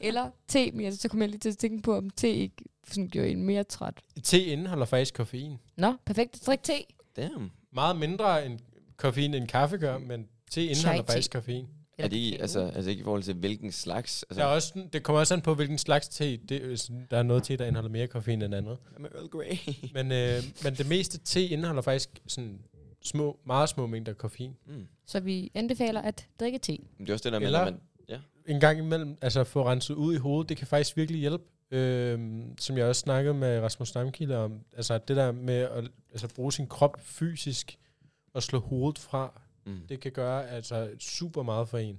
B: Eller te, men jeg, så kom jeg lige til at tænke på, om te ikke sådan gjorde en mere træt.
A: Te indeholder faktisk koffein.
B: Nå, perfekt. Drik te.
C: Damn.
A: Meget mindre end koffein end kaffe gør, men te indeholder
B: Chai-te.
A: faktisk koffein.
C: Er
B: Eller
C: det ikke,
B: kakao.
C: altså, altså ikke i forhold til, hvilken slags?
A: Der
C: Altså,
A: er også, det kommer også an på, hvilken slags te. Det, er sådan- der er noget te, der indeholder mere koffein end andet.
C: med Earl Grey.
A: Men, øh, men det meste te indeholder faktisk sådan små, meget små mængder koffein.
C: Mm.
B: Så vi anbefaler at drikke te.
C: Men det er også det der med,
A: Eller-
C: når man...
A: En gang imellem, altså få renset ud i hovedet, det kan faktisk virkelig hjælpe. Øhm, som jeg også snakkede med Rasmus Stamkilde om, altså det der med at altså, bruge sin krop fysisk og slå hovedet fra,
C: Mm.
A: det kan gøre altså super meget for en.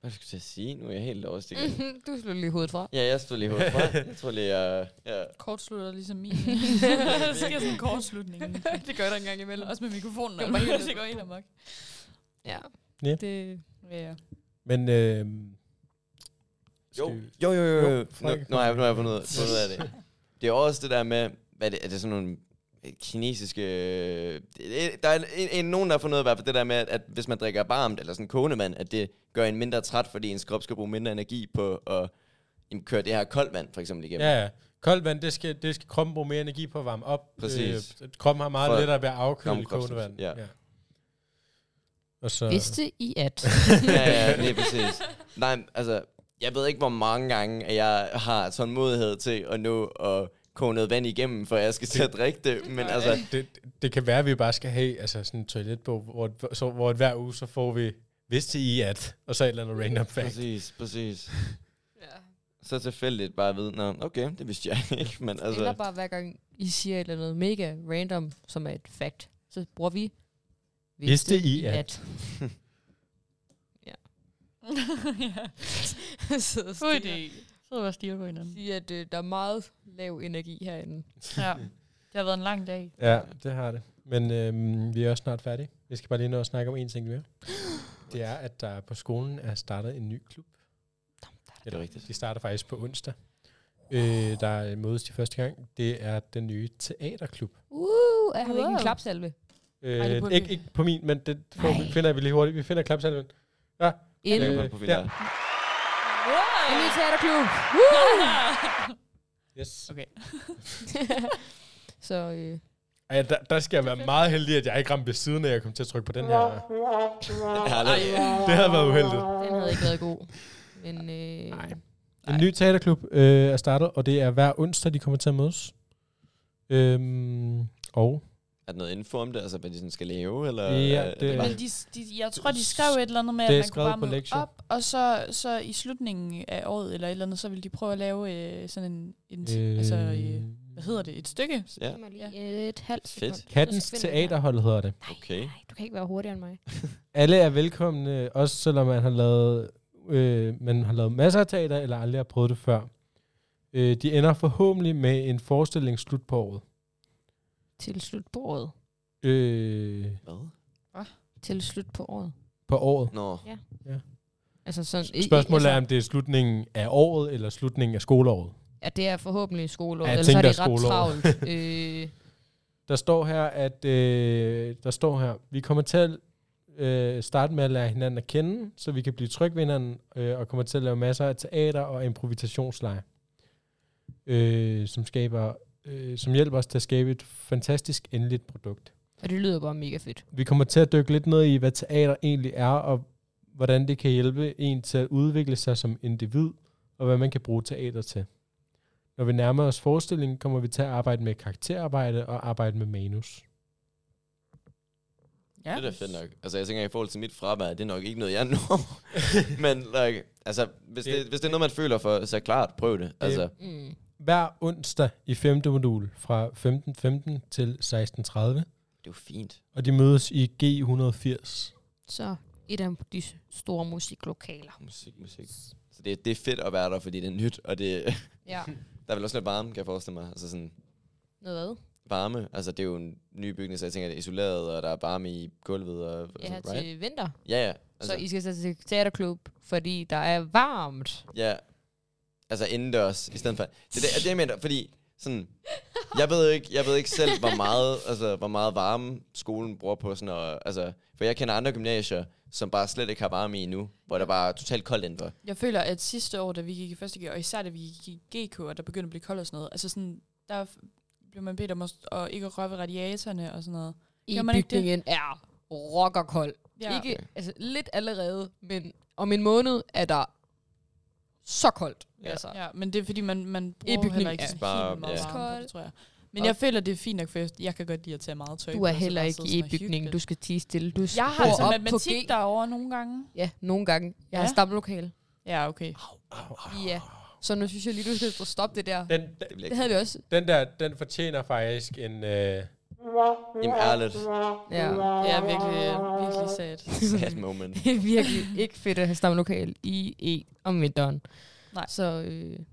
C: Hvad skulle jeg sige? Nu er jeg helt lost igen.
B: du slog lige hovedet fra.
C: Ja, jeg stod lige hovedet fra. Jeg tror lige, jeg... Ja.
D: Kortslutter ligesom min. der sker sådan en kortslutning.
B: det gør der engang imellem.
D: Også med mikrofonen.
B: Det
D: Det
B: var helt-
D: går helt amok.
B: Ja.
A: Ja.
B: Det,
D: Ja, ja.
A: Men øhm,
C: Jo,
A: skal vi-
C: jo, jo, jo.
A: Jo,
C: jo. Nu,
A: Frank.
C: nu, har jeg, nu har jeg fundet, ud- fundet ud af det. Det er også det der med, hvad er det, er det sådan nogle øh, kinesiske... øh, det- Der er en, en, en, nogen, der har fundet ud af i hvert fald det der med, at, at hvis man drikker varmt eller sådan kogende vand, at det gør en mindre træt, fordi ens krop skal bruge mindre energi på at jamen, køre det her koldt vand for eksempel igennem.
A: Ja, ja. Koldt vand, det skal, det skal kroppen bruge mere energi på at varme op.
C: Præcis.
A: Øh, kroppen har meget
C: For-
A: lettere ved at afkøle
C: Gammel
A: i kogende vand.
C: kropstemperaturer,
A: Og
C: Øh.
A: så,
B: vidste I at...
C: ja, ja, lige præcis. Nej, altså, jeg ved ikke, hvor mange gange at jeg har tålmodighed til at nå at koge noget vand igennem, for jeg skal til at drikke det. Men altså,
A: det, det kan være, at vi bare skal have altså sådan en toiletbog, hvor, så, hvor hver uge så får vi vidste I at, og så et eller andet random fact.
C: præcis, præcis.
B: ja.
C: Så tilfældigt bare at vide, nå, okay, det vidste jeg ikke, men
B: Altså. Eller
C: altså,
B: bare hver gang I siger et eller andet mega random, som er et fact, så bruger vi...
A: Vidste I at?
D: ja.
B: Sidder
D: God
B: stille.
D: idé. Sidder bare og stiger på hinanden.
B: Sige, at øh, der er meget lav energi herinde.
D: Ja. Det har været en lang dag.
A: Ja, det har det. Men øhm, vi er også snart færdige. Vi skal bare lige nå at snakke om en ting mere. Det er, at der på skolen er startet en ny klub.
C: det er rigtigt.
A: De starter faktisk på onsdag. Øh, der mødes de første gang. Det er den nye teaterklub.
B: Uh, jeg har wow. ikke en
D: Wow.
B: klapsalve.
A: Øh,
B: Ej, det
A: Ej,
B: burde
A: ikke,
B: vi.
A: ikke på min, men det får, vi-
B: Nej.
A: finder vi lige hurtigt. Vi finder klapsalven.
B: En,
C: Jeg
A: Øh,
C: kan godt på filter.
A: der.
B: en ny teaterklub.
A: Yes.
D: okay.
B: så øh,
A: Ej, der, der skal jeg være meget heldig, at jeg ikke ramte ved siden af, at jeg kom til at trykke på den her.
C: Herligt.
A: Det havde været uheldigt.
B: den havde ikke været god. Men øh,
A: Nej.
B: Nej.
A: En ny teaterklub øh, er startet, og det er hver onsdag, de kommer til at mødes. Øhm, og
C: Er der noget info om det, altså hvad de sådan skal lave, eller?
A: Ja,
C: er
A: det-
C: bare-
D: Men de, de, jeg tror, de skrev et eller andet med, at
A: Det er
D: man kunne
A: skrevet
D: bare
A: på
D: møde
A: lektier.
D: op, og så, så i slutningen af året eller et eller andet, så ville de prøve at lave øh, sådan en, en øh. altså, øh, hvad hedder det, et stykke?
C: Ja,
B: Kom lige et halvt
C: Fedt.
B: sekund.
A: Kattens
B: Så finder jeg.
A: Teaterhold hedder det.
C: okay.
B: Nej, du kan ikke være hurtigere end mig.
A: Alle er velkomne, også selvom man har lavet, øh, man har lavet masser af teater, eller aldrig har prøvet det før. Øh, de ender forhåbentlig med en forestilling slut på året.
B: Til slut på året.
A: Øh,
C: Hvad?
B: Til slut på året.
A: på året.
C: Nå,
B: Altså sådan, i- i-
A: Spørgsmålet er,
B: altså,
A: om det er slutningen af året, eller slutningen af skoleåret.
B: Ja, det er forhåbentlig skoleåret.
A: Ja,
B: Ja,
A: jeg
B: ellers er
A: tænkte, det
B: det
A: er
B: ret
A: skoleåret.
B: travlt. øh,
A: Der står her, at øh, der står her, vi kommer til at øh, starte med at lære hinanden at kende, så vi kan blive trygge ved hinanden, øh, og kommer til at lave masser af teater og improvisationsleje, øh, som, skaber, øh, som hjælper os til at skabe et fantastisk endeligt produkt.
B: og det lyder bare mega fedt.
A: Vi kommer til at dykke lidt ned i, hvad teater egentlig er, og hvordan det kan hjælpe en til at udvikle sig som individ, og hvad man kan bruge teater til. Når vi nærmer os forestillingen, kommer vi til at arbejde med karakterarbejde og arbejde med manus.
D: Ja.
C: det er da fedt nok. Altså jeg tænker, i forhold til mit fravær, det er nok ikke noget, jeg når. men like, altså, hvis det,
A: Det-
C: hvis det er noget, man føler for, så klart, prøv det. Altså,
B: Mm.
A: Hver onsdag i femte modul fra 15.15 til 16.30,
C: det er jo fint.
A: og de mødes i G180.
B: Så et af de store musiklokaler.
C: Ah, Musik, musik. Så det, det er fedt at være der, fordi det er nyt, og det,
B: Ja.
C: der er vel også lidt varme, kan jeg forestille mig. Altså sådan
B: Noget hvad?
C: varme. Altså det er jo en ny bygning, så jeg tænker, det er isoleret, og der er varme i gulvet. Og,
B: Ja, her
C: altså, right?
B: til vinter.
C: ja, ja.
B: Altså.
C: Altså,
B: Så I skal tage til teaterklub, fordi der er varmt.
C: ja, altså indendørs, i stedet for... Det er det, det, jeg mener, fordi sådan... Jeg ved ikke, jeg ved ikke selv, hvor meget, altså, hvor meget varme skolen bruger på sådan og, altså, for jeg kender andre gymnasier, som bare slet ikke har varme i nu, hvor der bare er totalt koldt indenfor.
D: Jeg føler, at sidste år, da vi gik i første G, og især da vi gik i GK, og der begyndte at blive koldt og sådan noget, altså sådan, der f- blev man bedt om at, st- at ikke at røre ved radiatorerne og sådan noget.
B: i
D: Gør man ikke det?
B: bygningen er rockerkold. Ja. Ikke, altså, lidt allerede, men om en måned er der så koldt.
C: Ja.
B: Ja. Altså. Ja.
D: ja, men det er fordi, man, man bruger
B: bygningen,
D: heller ikke
B: ja.
D: sådan
C: Bare-
D: helt meget
C: ja.
D: varme på det,
B: Kold.
D: tror jeg. Men jeg føler, det er fint nok, for jeg- jeg kan godt lide at tage meget tøj.
B: Du
D: på,
B: er
D: og så
B: heller
D: bare
B: ikke
D: sidde
B: i
D: sådan og hygge
B: bygningen.
D: lidt.
B: Du skal tige stille. Du
D: Jeg har
B: bor
D: altså
B: op på
D: matematik
B: G.
D: derovre nogle gange.
B: Ja, nogle gange. Jeg
D: Ja.
B: har stamlokale.
D: Ja, okay.
B: Ja. Så nu synes jeg lige, du skal stoppe det der.
A: Den, den,
C: Det
B: Det
C: bliver
B: havde vi også.
A: den der, den fortjener faktisk en... Øh,
C: ikke ærligt
B: Ja.
D: Det er virkelig, virkelig sad.
C: sad moment.
B: Det er virkelig ikke fedt at have stamlokale i E om vinteren.
D: Nej.
B: Så øh, du
C: har-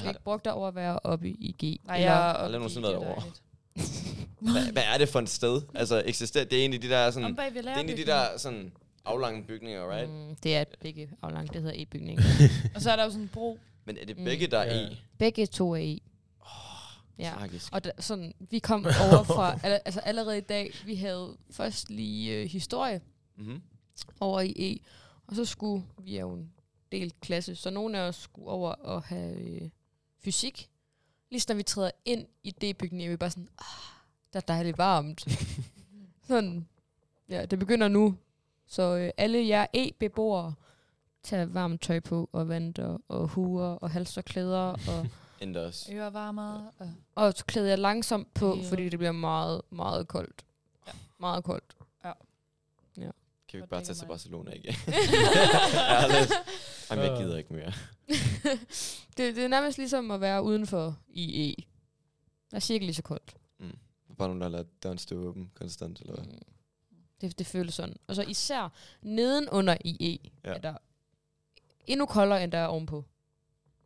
B: skal ikke brugt dig over at være oppe i G.
D: Nej,
B: Eller-
D: jeg er
C: Aldrig nogensinde været derovre.
D: Hvad
C: Hvad, hvad er det for et sted? Altså, eksisterer... Det er egentlig de der sådan...
D: Om bag ved
C: Det er egentlig de der sådan aflange bygninger, right? Mm.
B: Mm, det er begge aflangt. Det hedder E-bygning.
D: Og så er der jo sådan en bro.
C: Men er det
B: Mm.
C: begge, der er
A: Ja.
C: i?
B: begge to er E. Ja.
C: Tragisk.
B: Og der, sådan, vi kom over fra, al- altså allerede i dag, vi havde først lige øh, historie
C: Mm-hmm.
B: over i E, og så skulle vi er jo en del klasse, så nogle af os skulle over og have øh, fysik. Lige så når vi træder ind i D-bygningen, er vi bare sådan, ah, der er dejligt varmt. sådan, ja, det begynder nu. Så øh, alle jer E-beboere, tag varmt tøj på, og vanter, og huer, og halserklæder, og
C: Indendørs.
D: Øh, Ørevarmere. Og
B: og så klæder jeg langsomt på,
D: Ja.
B: yeah. fordi det bliver meget, meget koldt.
D: Ja.
B: Ja. Meget koldt.
C: Kan vi ikke
D: Hvor
C: bare
D: dækker
C: tage til
D: mig.
C: Barcelona igen? Ærligt. Jamen, jeg gider ikke mere.
B: det, det er nærmest ligesom at være udenfor i E. Der er cirka lige så koldt.
C: Bare nogen, der har lavet døren stå åben konstant, eller hvad?
B: Mm. Det, det føles sådan. Og så især nedenunder i E,
C: Ja.
B: ja. er der endnu koldere, end der er ovenpå.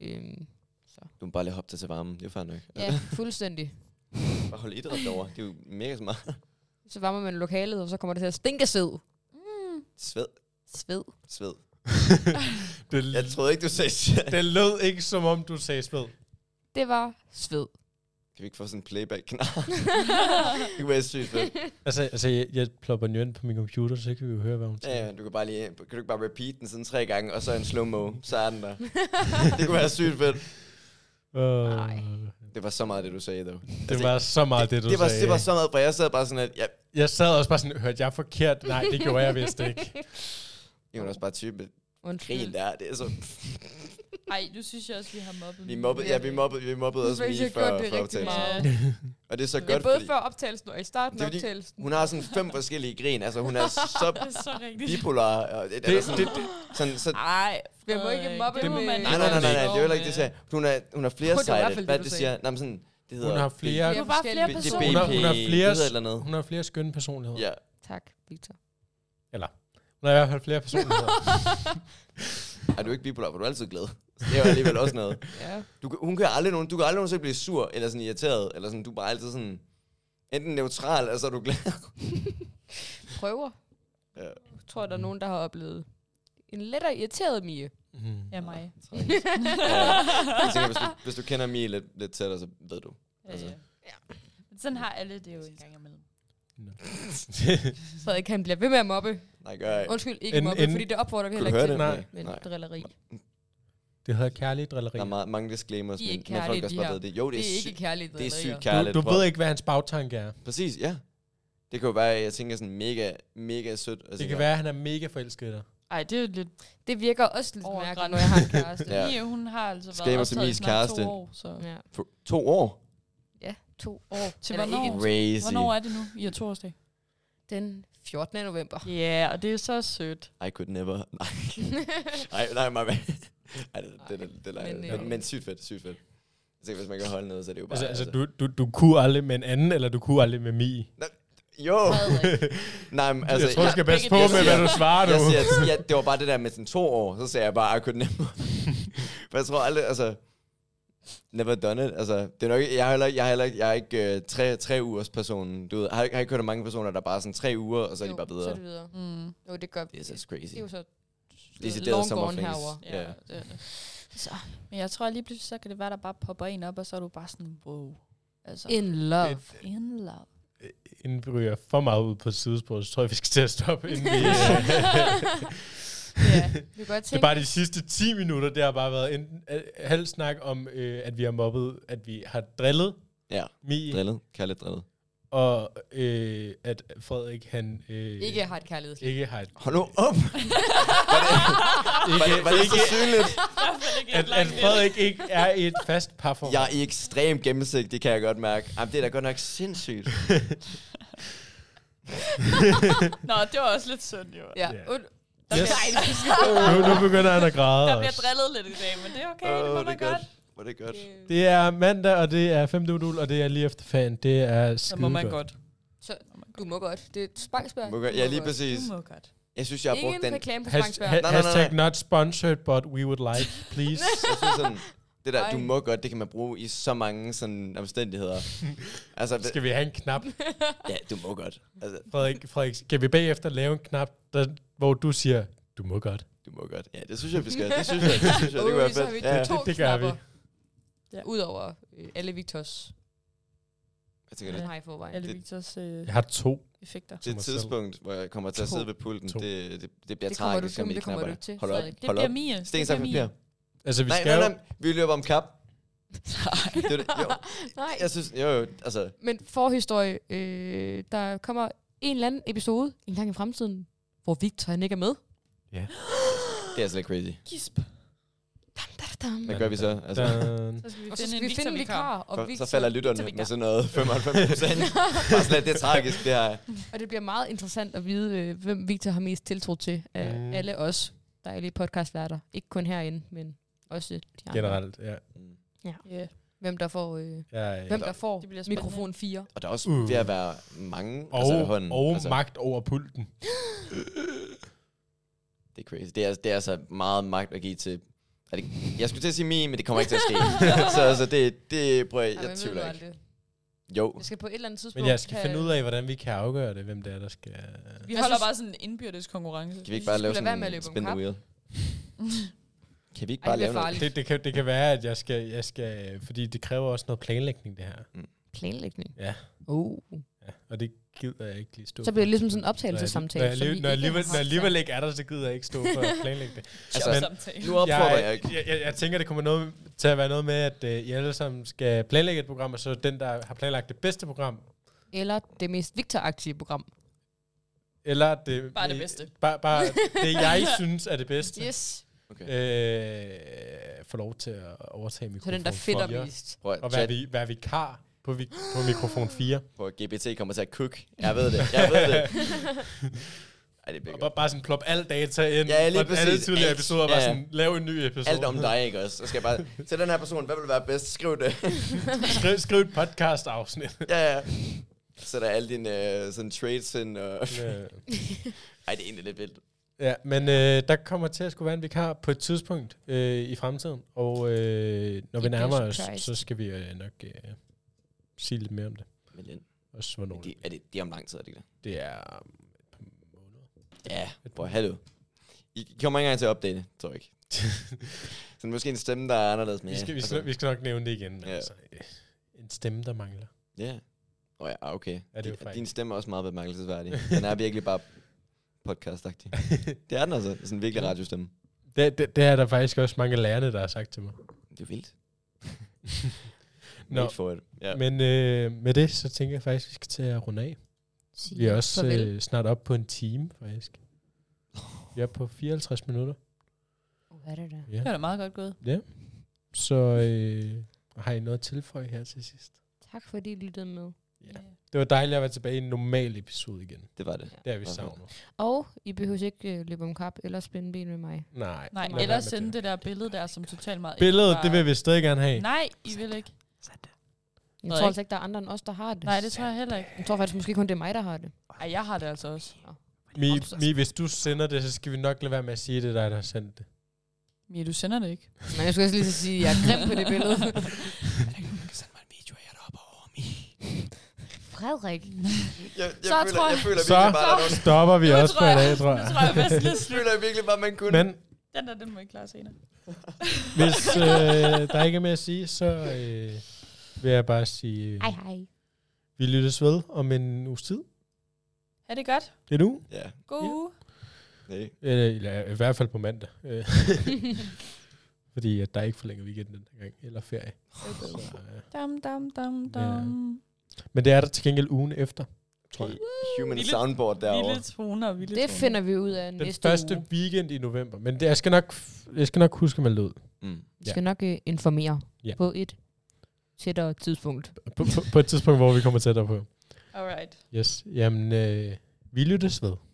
B: Øhm,
C: Du må bare lige hoppe dig til varmen. Det er jo fair nok.
B: ja, fuldstændig.
C: Bare holde idræt derovre. Det er jo mega smart.
B: Så varmer man lokalet, og så kommer det til at stinke af sved.
C: Sved.
B: Sved.
C: Sved.
A: det,
C: Jeg troede ikke, du sagde sved.
A: det lød ikke, som om du sagde spæd.
B: Det var sved.
C: Kan vi ikke få sådan en playback-knap? det kunne være sygt fedt.
A: Altså, altså jeg, jeg plopper den jo ind på min computer, så kan vi jo høre, hvad hun
C: Ja,
A: siger.
C: ja, du kan, bare lige, kan du ikke bare repeat den sådan tre gange, og så en slow-mo, så er den der. det kunne være sygt fedt.
A: Øh,
B: Nej.
C: Det var så meget det, du sagde, dog.
A: det var så meget det, du
C: det var,
A: sagde.
C: Det var så meget, for jeg sad bare sådan, at jeg,
A: Jeg sad også bare sådan, hørte jeg forkert? Nej, det gjorde jeg vist ikke.
C: jeg var også bare type, grin
B: Undskyld.
C: der, det er så...
D: Ej, nu synes jeg også, vi har mobbet.
C: Vi mobbede, ja, vi mobbede, vi mobbede også
B: Faktisk, jeg
C: lige
B: har gjort det
C: før, før
B: rigtig
C: optagelsen.
B: meget.
C: Og det er så
B: Ja,
C: godt,
B: både
C: fordi
B: før optagelsen og i starten
C: Det
B: af
C: er fordi-
B: optagelsen.
C: hun har sådan fem forskellige grin. Altså, hun er så
D: Det er så rigtigt.
C: bipolar. Og det,
A: Det,
C: det, sådan,
A: det,
C: det, sådan, så,
D: Nej,
B: Vi må ikke mobbe
D: det
B: dem
D: må
B: med-
D: man
C: nej, nej, nej, nej, nej, det er jo heller ikke det, jeg sagde. Hun er, hun er flere
B: Det var i hvert
C: sider.
B: fald
C: Hvad
B: det,
C: det
B: du
C: siger? Nej, men sådan, det hedder...
A: hun har flere,
D: Det var bare flere
B: Det-
C: det er
D: personer.
A: hun har, hun har
C: BP,
A: flere,
C: det hedder et eller andet.
A: hun har flere skønne personligheder.
C: Ja,
B: Tak, Victor.
A: Hun har i hvert fald flere personligheder.
C: er du ikke bipolar, for du er altid glad. Så Det er jo alligevel også noget.
B: Ja.
C: Du, kan- hun kan aldrig nogen, du kan aldrig nogensinde blive sur, eller sådan irriteret, eller sådan, du er bare altid sådan, enten neutral, eller så er du glad.
B: Prøver.
C: Ja.
B: Jeg tror, der er nogen, der har oplevet en lettere irriteret Mie.
A: Mm.
D: Ja, mig.
C: Jeg tænker, hvis du, hvis du kender Mie lidt, lidt tættere, så ved du. Altså.
D: Ja. Men Sådan har alle det jo en gang imellem.
B: Frederik, han bliver ved med at mobbe.
C: Nej, gør jeg ikke.
B: Undskyld, ikke
A: En-
B: mobbe,
A: en-
B: fordi det opfordrer vi
C: Kunne
B: heller
C: du
B: ikke
C: høre
B: til.
C: det?
A: Nej.
B: Men
C: Nej.
B: drilleri.
A: Det hedder kærlig drilleri.
C: Der er meget, mange disclaimers,
B: De er
C: men,
B: ikke
C: men folk
B: kærlige,
C: også
B: de
C: bare
B: her.
C: ved det. Jo, det
B: Det
C: er,
B: er
C: sygt,
B: ikke kærligt
C: det er sygt
B: drillerier.
C: kærligt.
A: Du, du
C: prøv.
A: ved ikke, hvad hans bagtanke er.
C: Præcis, ja. Det kan jo være, at jeg tænker sådan mega, mega sødt. Altså,
A: Det kan være, at han er mega forelsket i dig.
D: Ej, det er jo lidt...
B: Det virker også lidt
D: Over
B: mærkeligt,
D: grænsen.
B: når jeg har en kæreste.
C: Ja.
D: Ja. Mie, hun har altså været
C: Disclaimer til
D: optaget i
C: Mies
D: snart to
C: kæreste.
D: år, så...
B: ja.
C: For to år?
B: To år.
D: Til
B: Er der
D: hvornår?
B: ikke-
C: Crazy.
D: Hvornår er det nu? I har torsdag.
B: Den 14. november.
D: Ja, yeah, og det er så sødt.
C: I could never. Nej, nej, nej, nej. nej. Ej, det, det, det, det,
B: Men,
C: det,
B: øh,
C: det, men, men sygt fedt, sygt fedt. Jeg tænker, hvis man kan holde noget, så er det jo bare...
A: Altså, altså du, du, du kunne aldrig med en anden, eller du kunne aldrig med Mi.
C: altså. Jo! nej, men altså...
A: jeg tror, du skal passe
D: begge
A: på
D: dele.
A: med, hvad du svarer nu.
C: jeg siger, at, ja, det var bare det der med sådan to år, så sagde jeg bare, I could never. For jeg tror aldrig, altså, never done it. Altså, det er nok, jeg, har heller, ikke- jeg, har heller, ikke- jeg er ikke øh, tre, tre ugers personen. Du ved, har, har ikke hørt om mange personer, der bare er sådan tre uger, og så er de bare
B: Så
C: videre.
B: er det videre.
D: Mm.
B: Jo, det gør vi.
C: Det er så
B: Det
C: crazy.
B: er jo så
C: Decideret
B: long
C: summer
B: gone
C: flings.
B: herovre.
C: Ja.
D: det er det.
B: Så.
D: Men jeg tror lige pludselig, så kan det være, der bare popper en op, og så er du bare sådan, wow. Altså,
B: In love.
A: Et,
D: in love.
A: øh, inden vi ryger for meget ud på et sidespor, så tror jeg, vi skal til at stoppe, inden vi... øh,
B: ja, vi kan godt
A: det er
B: tænke,
A: bare de sidste 10 minutter, det har bare været enten øh, halv snak om, øh, at vi har mobbet, at vi har drillet
C: Ja,
A: Mie,
C: drillet. Kærligt drillet.
A: og øh, at Frederik, han... Øh,
B: ikke har et kærlighed.
A: ikke har et,
C: Hold nu op! var
B: Ah!
C: det, var det, var det så synligt?
A: at, at Frederik ikke er i et fast parforhold.
C: Jeg er i ekstrem gennemsigt, det kan jeg godt mærke. Jamen, det er da godt nok sindssygt.
D: Nå, det var også lidt synd, jo.
B: Ja.
A: Ja.
B: Und-
A: Yes.
B: Nej, det er
A: Nu, nu begynder han at græde
D: Der bliver
A: også.
D: drillet lidt i dag, men det er okay,
C: Åh,
D: det må
C: det
D: man
C: er godt.
D: godt.
C: Var det godt?
B: Øh.
A: Det er mandag, og det er 5. modul, og det er lige efter fan. Det er
D: Så
A: skide
D: må man godt.
B: Du må godt. Det er et spangsbørn.
C: Må godt- Ja, lige præcis.
D: Du må godt.
C: Jeg synes, jeg har
B: Ikke
C: brugt
B: en
C: den.
B: reklame for
A: Has,
B: spangsbørn.
A: ha,
C: nej, Altså, nej.
A: hashtag not sponsored, but we would like, please.
C: Jeg synes sådan, det der,
B: Ej.
C: du må godt, det kan man bruge i så mange sådan omstændigheder. Altså, det,
A: Skal vi have en knap?
C: ja, du må godt. Altså,
A: Frederik, Frederik, skal vi bagefter lave en knap, der, hvor du siger, du må godt?
C: du må godt. Ja, det synes jeg, vi skal. Det synes jeg, det, synes jeg, det kunne være
B: så har vi
C: fedt. Ja,
B: to
A: Det- det gør vi.
B: knapper.
D: Ja.
B: Udover øh, alle Victors.
C: jeg tænker,
B: Den
C: det,
B: har I forvejen.
D: Alle
C: Det-
D: Victors øh,
A: Jeg har to.
D: effekter.
C: det
A: mig selv.
C: tidspunkt, hvor jeg kommer til at
A: To.
C: sidde ved pulten,
A: To.
C: det, det, det bliver
B: Det kommer du
C: tragisk,
B: til,
C: om
B: men
C: vi
B: det kommer du
C: knapper
B: ikke til.
C: dig. Hold op,
B: Frederik.
D: Det
C: hold
D: bliver
C: op.
D: Mie.
C: Sten,
D: det
C: saks,
D: bliver
C: papir.
D: Mie.
A: Altså, vi
C: Nej,
A: skal
C: nej,
A: jo...
C: nej, vi løber om kap. Det er det. Jo,
B: Nej.
C: jeg synes, jo, jo, altså,
B: Men forhistorie, øh, der kommer en eller anden episode en gang i fremtiden, hvor Victor han ikke er med.
C: det er altså lidt crazy.
D: Gisp.
B: Dam, dam, dam.
C: Hvad gør vi så? Altså,
A: Dun.
D: Så skal vi
B: Og så skal vi finde en vikar, og,
C: for,
B: Victor,
C: så falder
B: til
C: lytterne
B: vikar.
C: med sådan noget 95 procent. slet, det er tragisk, det her.
B: og det bliver meget interessant at vide, øh, hvem Victor har mest tiltro til af
A: Mm.
B: mm. alle os dejlige podcastværter. Ikke kun herinde, men også de andre.
A: Generelt, ja.
C: Mm.
D: Ja,
B: Hvem der får, øh,
A: ja, ja.
B: hvem der får
D: det bliver spændende.
B: mikrofon 4.
C: Og der er også
A: Uh.
C: ved at være mange
A: Og,
C: altså, i hånden.
A: og
C: altså,
A: magt over pulten.
C: Det er crazy. Det er, det er altså meget magt at give til... Er det, jeg skulle til at sige min, men det kommer ikke til at ske. så altså, det, det prøver jeg,
B: Ej,
C: jeg
B: men ved du
C: tvivler ikke.
B: aldrig.
C: Jo,
B: Vi skal på et eller andet tidspunkt...
A: Men jeg skal
B: have-
A: finde ud af, hvordan vi kan afgøre det, hvem det er, der skal...
D: Vi
B: Jeg
D: holder
B: synes-
D: bare sådan en indbyrdes konkurrence.
C: kan vi ikke
B: Jeg
C: bare
B: synes,
C: lave
B: vi lader være med
C: sådan
B: at
C: en
B: løbe om
C: spin the
B: kap.
C: wheel? Kan vi ikke
B: Ej,
C: bare
B: det
C: lave
B: bliver
C: noget?
B: farligt.
A: Det, det, kan, det kan være, at jeg skal, jeg skal... Fordi det kræver også noget planlægning, det her.
B: Planlægning.
A: Ja.
B: Oh.
A: Ja, og det gider jeg ikke lige stå
B: Så bliver det
A: for.
B: ligesom sådan en
A: Når jeg-
B: optagelsessamtale.
A: Når jeg,
B: som
A: alligevel-
B: vi
A: når jeg,
B: ikke
A: alligevel, når jeg
B: har haft
A: alligevel ikke er der, så gider jeg ikke stå for at planlægge det.
D: altså,
A: men-
D: samtale.
C: Nu opfordrer jeg,
A: jeg,
C: ikke.
A: jeg, jeg, jeg tænker, det kommer noget, til at være noget med, at øh, I alle sammen skal planlægge et program, og så den, der har planlagt det bedste program,
B: før. Eller det mest Victor-aktive program.
A: eller det...
D: Bare det bedste.
A: Bare, bare det, jeg synes er det bedste, yes.
C: Okay.
A: øh, får lov til at overtage
B: Så
A: mikrofon
B: den, der fitter
A: 4,
B: mest.
C: Prøv at,
A: Og være,
C: chat,
A: vi, være vikar på, vi, på mikrofon 4.
C: prøv at GPT kommer til at cook. Jeg ved det, jeg ved det. Ej, det bliver
A: Og
C: godt.
A: bare, bare sådan plop al data ind
C: Ja, lige
A: fra den alle
C: præcis.
A: tidligere
C: Alt.
A: episoder, bare
C: Ja, ja.
A: sådan, lav en ny episode.
C: Alt om dig, ikke også? Så skal jeg bare... Til den her person, hvad vil være bedst? Skriv det.
A: skriv, skriv et podcast-afsnit.
C: ja, ja. Så der er alle dine øh, sådan trades ind. Og...
A: Øh,
C: Ej, det er egentlig lidt vildt.
A: Ja, men øh, der kommer til at skulle være en vikar på et tidspunkt øh, i fremtiden, og øh, når vi
B: Jesus
A: nærmer os,
B: Christ.
A: så skal vi øh, nok øh, sige lidt mere om det.
C: Men den-
A: Også hvornår
C: de, er det, de er om lang tid, er det ikke det?
A: det er. um, et par måneder.
C: Ja, hvor hallo. I I kommer ikke engang til at opdage det, tror jeg ikke. så måske en stemme, der er anderledes. Men
A: Vi skal,
C: ja, altså-
A: vi, skal, vi skal nok nævne det igen.
C: Ja.
A: Altså, øh, en stemme, der mangler.
C: Ja. Oh, ja, ah, okay.
A: Ja, det er jo
C: Din-
A: fejl.
C: Din stemme er også meget bemærkelsesværdig. Den er virkelig bare podcastagtig. det er den altså. Det er sådan en virkelig radiostemme.
A: Det, det, det er der faktisk også mange lærerne, der har sagt til mig.
C: Det er vildt.
A: Nå,
C: Wait for it. Ja.
A: men øh, med det, så tænker jeg faktisk, at vi skal til at runde af. Vi er også
B: farvel.
A: øh, snart op på en time, faktisk. Vi er på 54 minutter.
B: Hvad er det der?
A: Ja.
D: Det var da meget godt gået.
A: Så øh, har I noget at tilføje her til sidst?
B: Tak fordi I lyttede med.
A: Ja. Det var dejligt at være tilbage i en normal episode igen.
C: Det var det.
A: Det er vi
C: Hvorfor?
A: savnet.
B: Og I behøver ikke øh, løbe om kap eller spænde ben med mig.
A: Nej.
D: Nej,
A: lad være
D: ellers
A: med
D: sende
A: det.
D: det der billede der, som totalt meget...
A: Billedet,
D: ikke
A: det vil vi stadig gerne have.
D: Nej, I vil ikke.
B: Jeg
D: Ved
B: tror
D: ikke.
B: altså ikke, der er andre end os, der har det.
D: Nej, det tror jeg heller ikke.
B: Jeg tror faktisk måske kun, det er mig, der har det.
D: Ej, jeg har det altså også.
A: Mi, Mi, hvis du sender det, så skal vi nok lade være med at sige, at det er dig, der har sendt det.
D: Mia, du sender det ikke.
B: Men jeg skulle også lige så sige, at jeg er grim på det billede.
C: Send mig en video af jer deroppe over mig.
B: Frederik.
C: Jeg, jeg,
B: Så
C: føler,
B: tror
C: jeg,
B: jeg-
C: føler
A: Så
C: virkelig bare, at der er nogen,
A: stopper vi
D: Nu
A: også
D: tror
A: for i
D: jeg-
A: dag, tror
D: Nu
A: jeg.
D: tror jeg, jeg
C: jeg føler virkelig bare, at man kunne...
A: Men
D: Den der, den må jeg klare senere.
A: Hvis øh, der ikke er mere at sige, så øh, vil jeg bare sige, øh,
F: Hej, hej.
A: vi lyttes ved om en uges tid.
D: Ha' det godt.
A: Det er nu.
C: Ja,
D: God
A: Ja.
D: uge.
C: det
A: Eller, eller i hvert fald på mandag. Øh, Fordi at der er ikke forlænget weekend den her gang. Eller ferie. Så, øh.
D: Dam, dam, dam, dam.
A: Men det er der til gengæld ugen efter, tror jeg.
C: human
D: Vilde-
C: soundboard derovre.
D: Vilde toner, vilde
B: Det
D: toner.
B: finder vi ud af
A: Den
B: næste
A: første
B: uge.
A: weekend i november. Men det, jeg, skal nok, jeg skal nok huske at melde ud.
C: Mm.
B: Vi skal nok øh, informere
A: Ja.
B: på et tættere tidspunkt.
A: På, på, på et tidspunkt, hvor vi kommer tættere på.
D: Alright.
A: Yes. Jamen, øh, vi lyttes ved.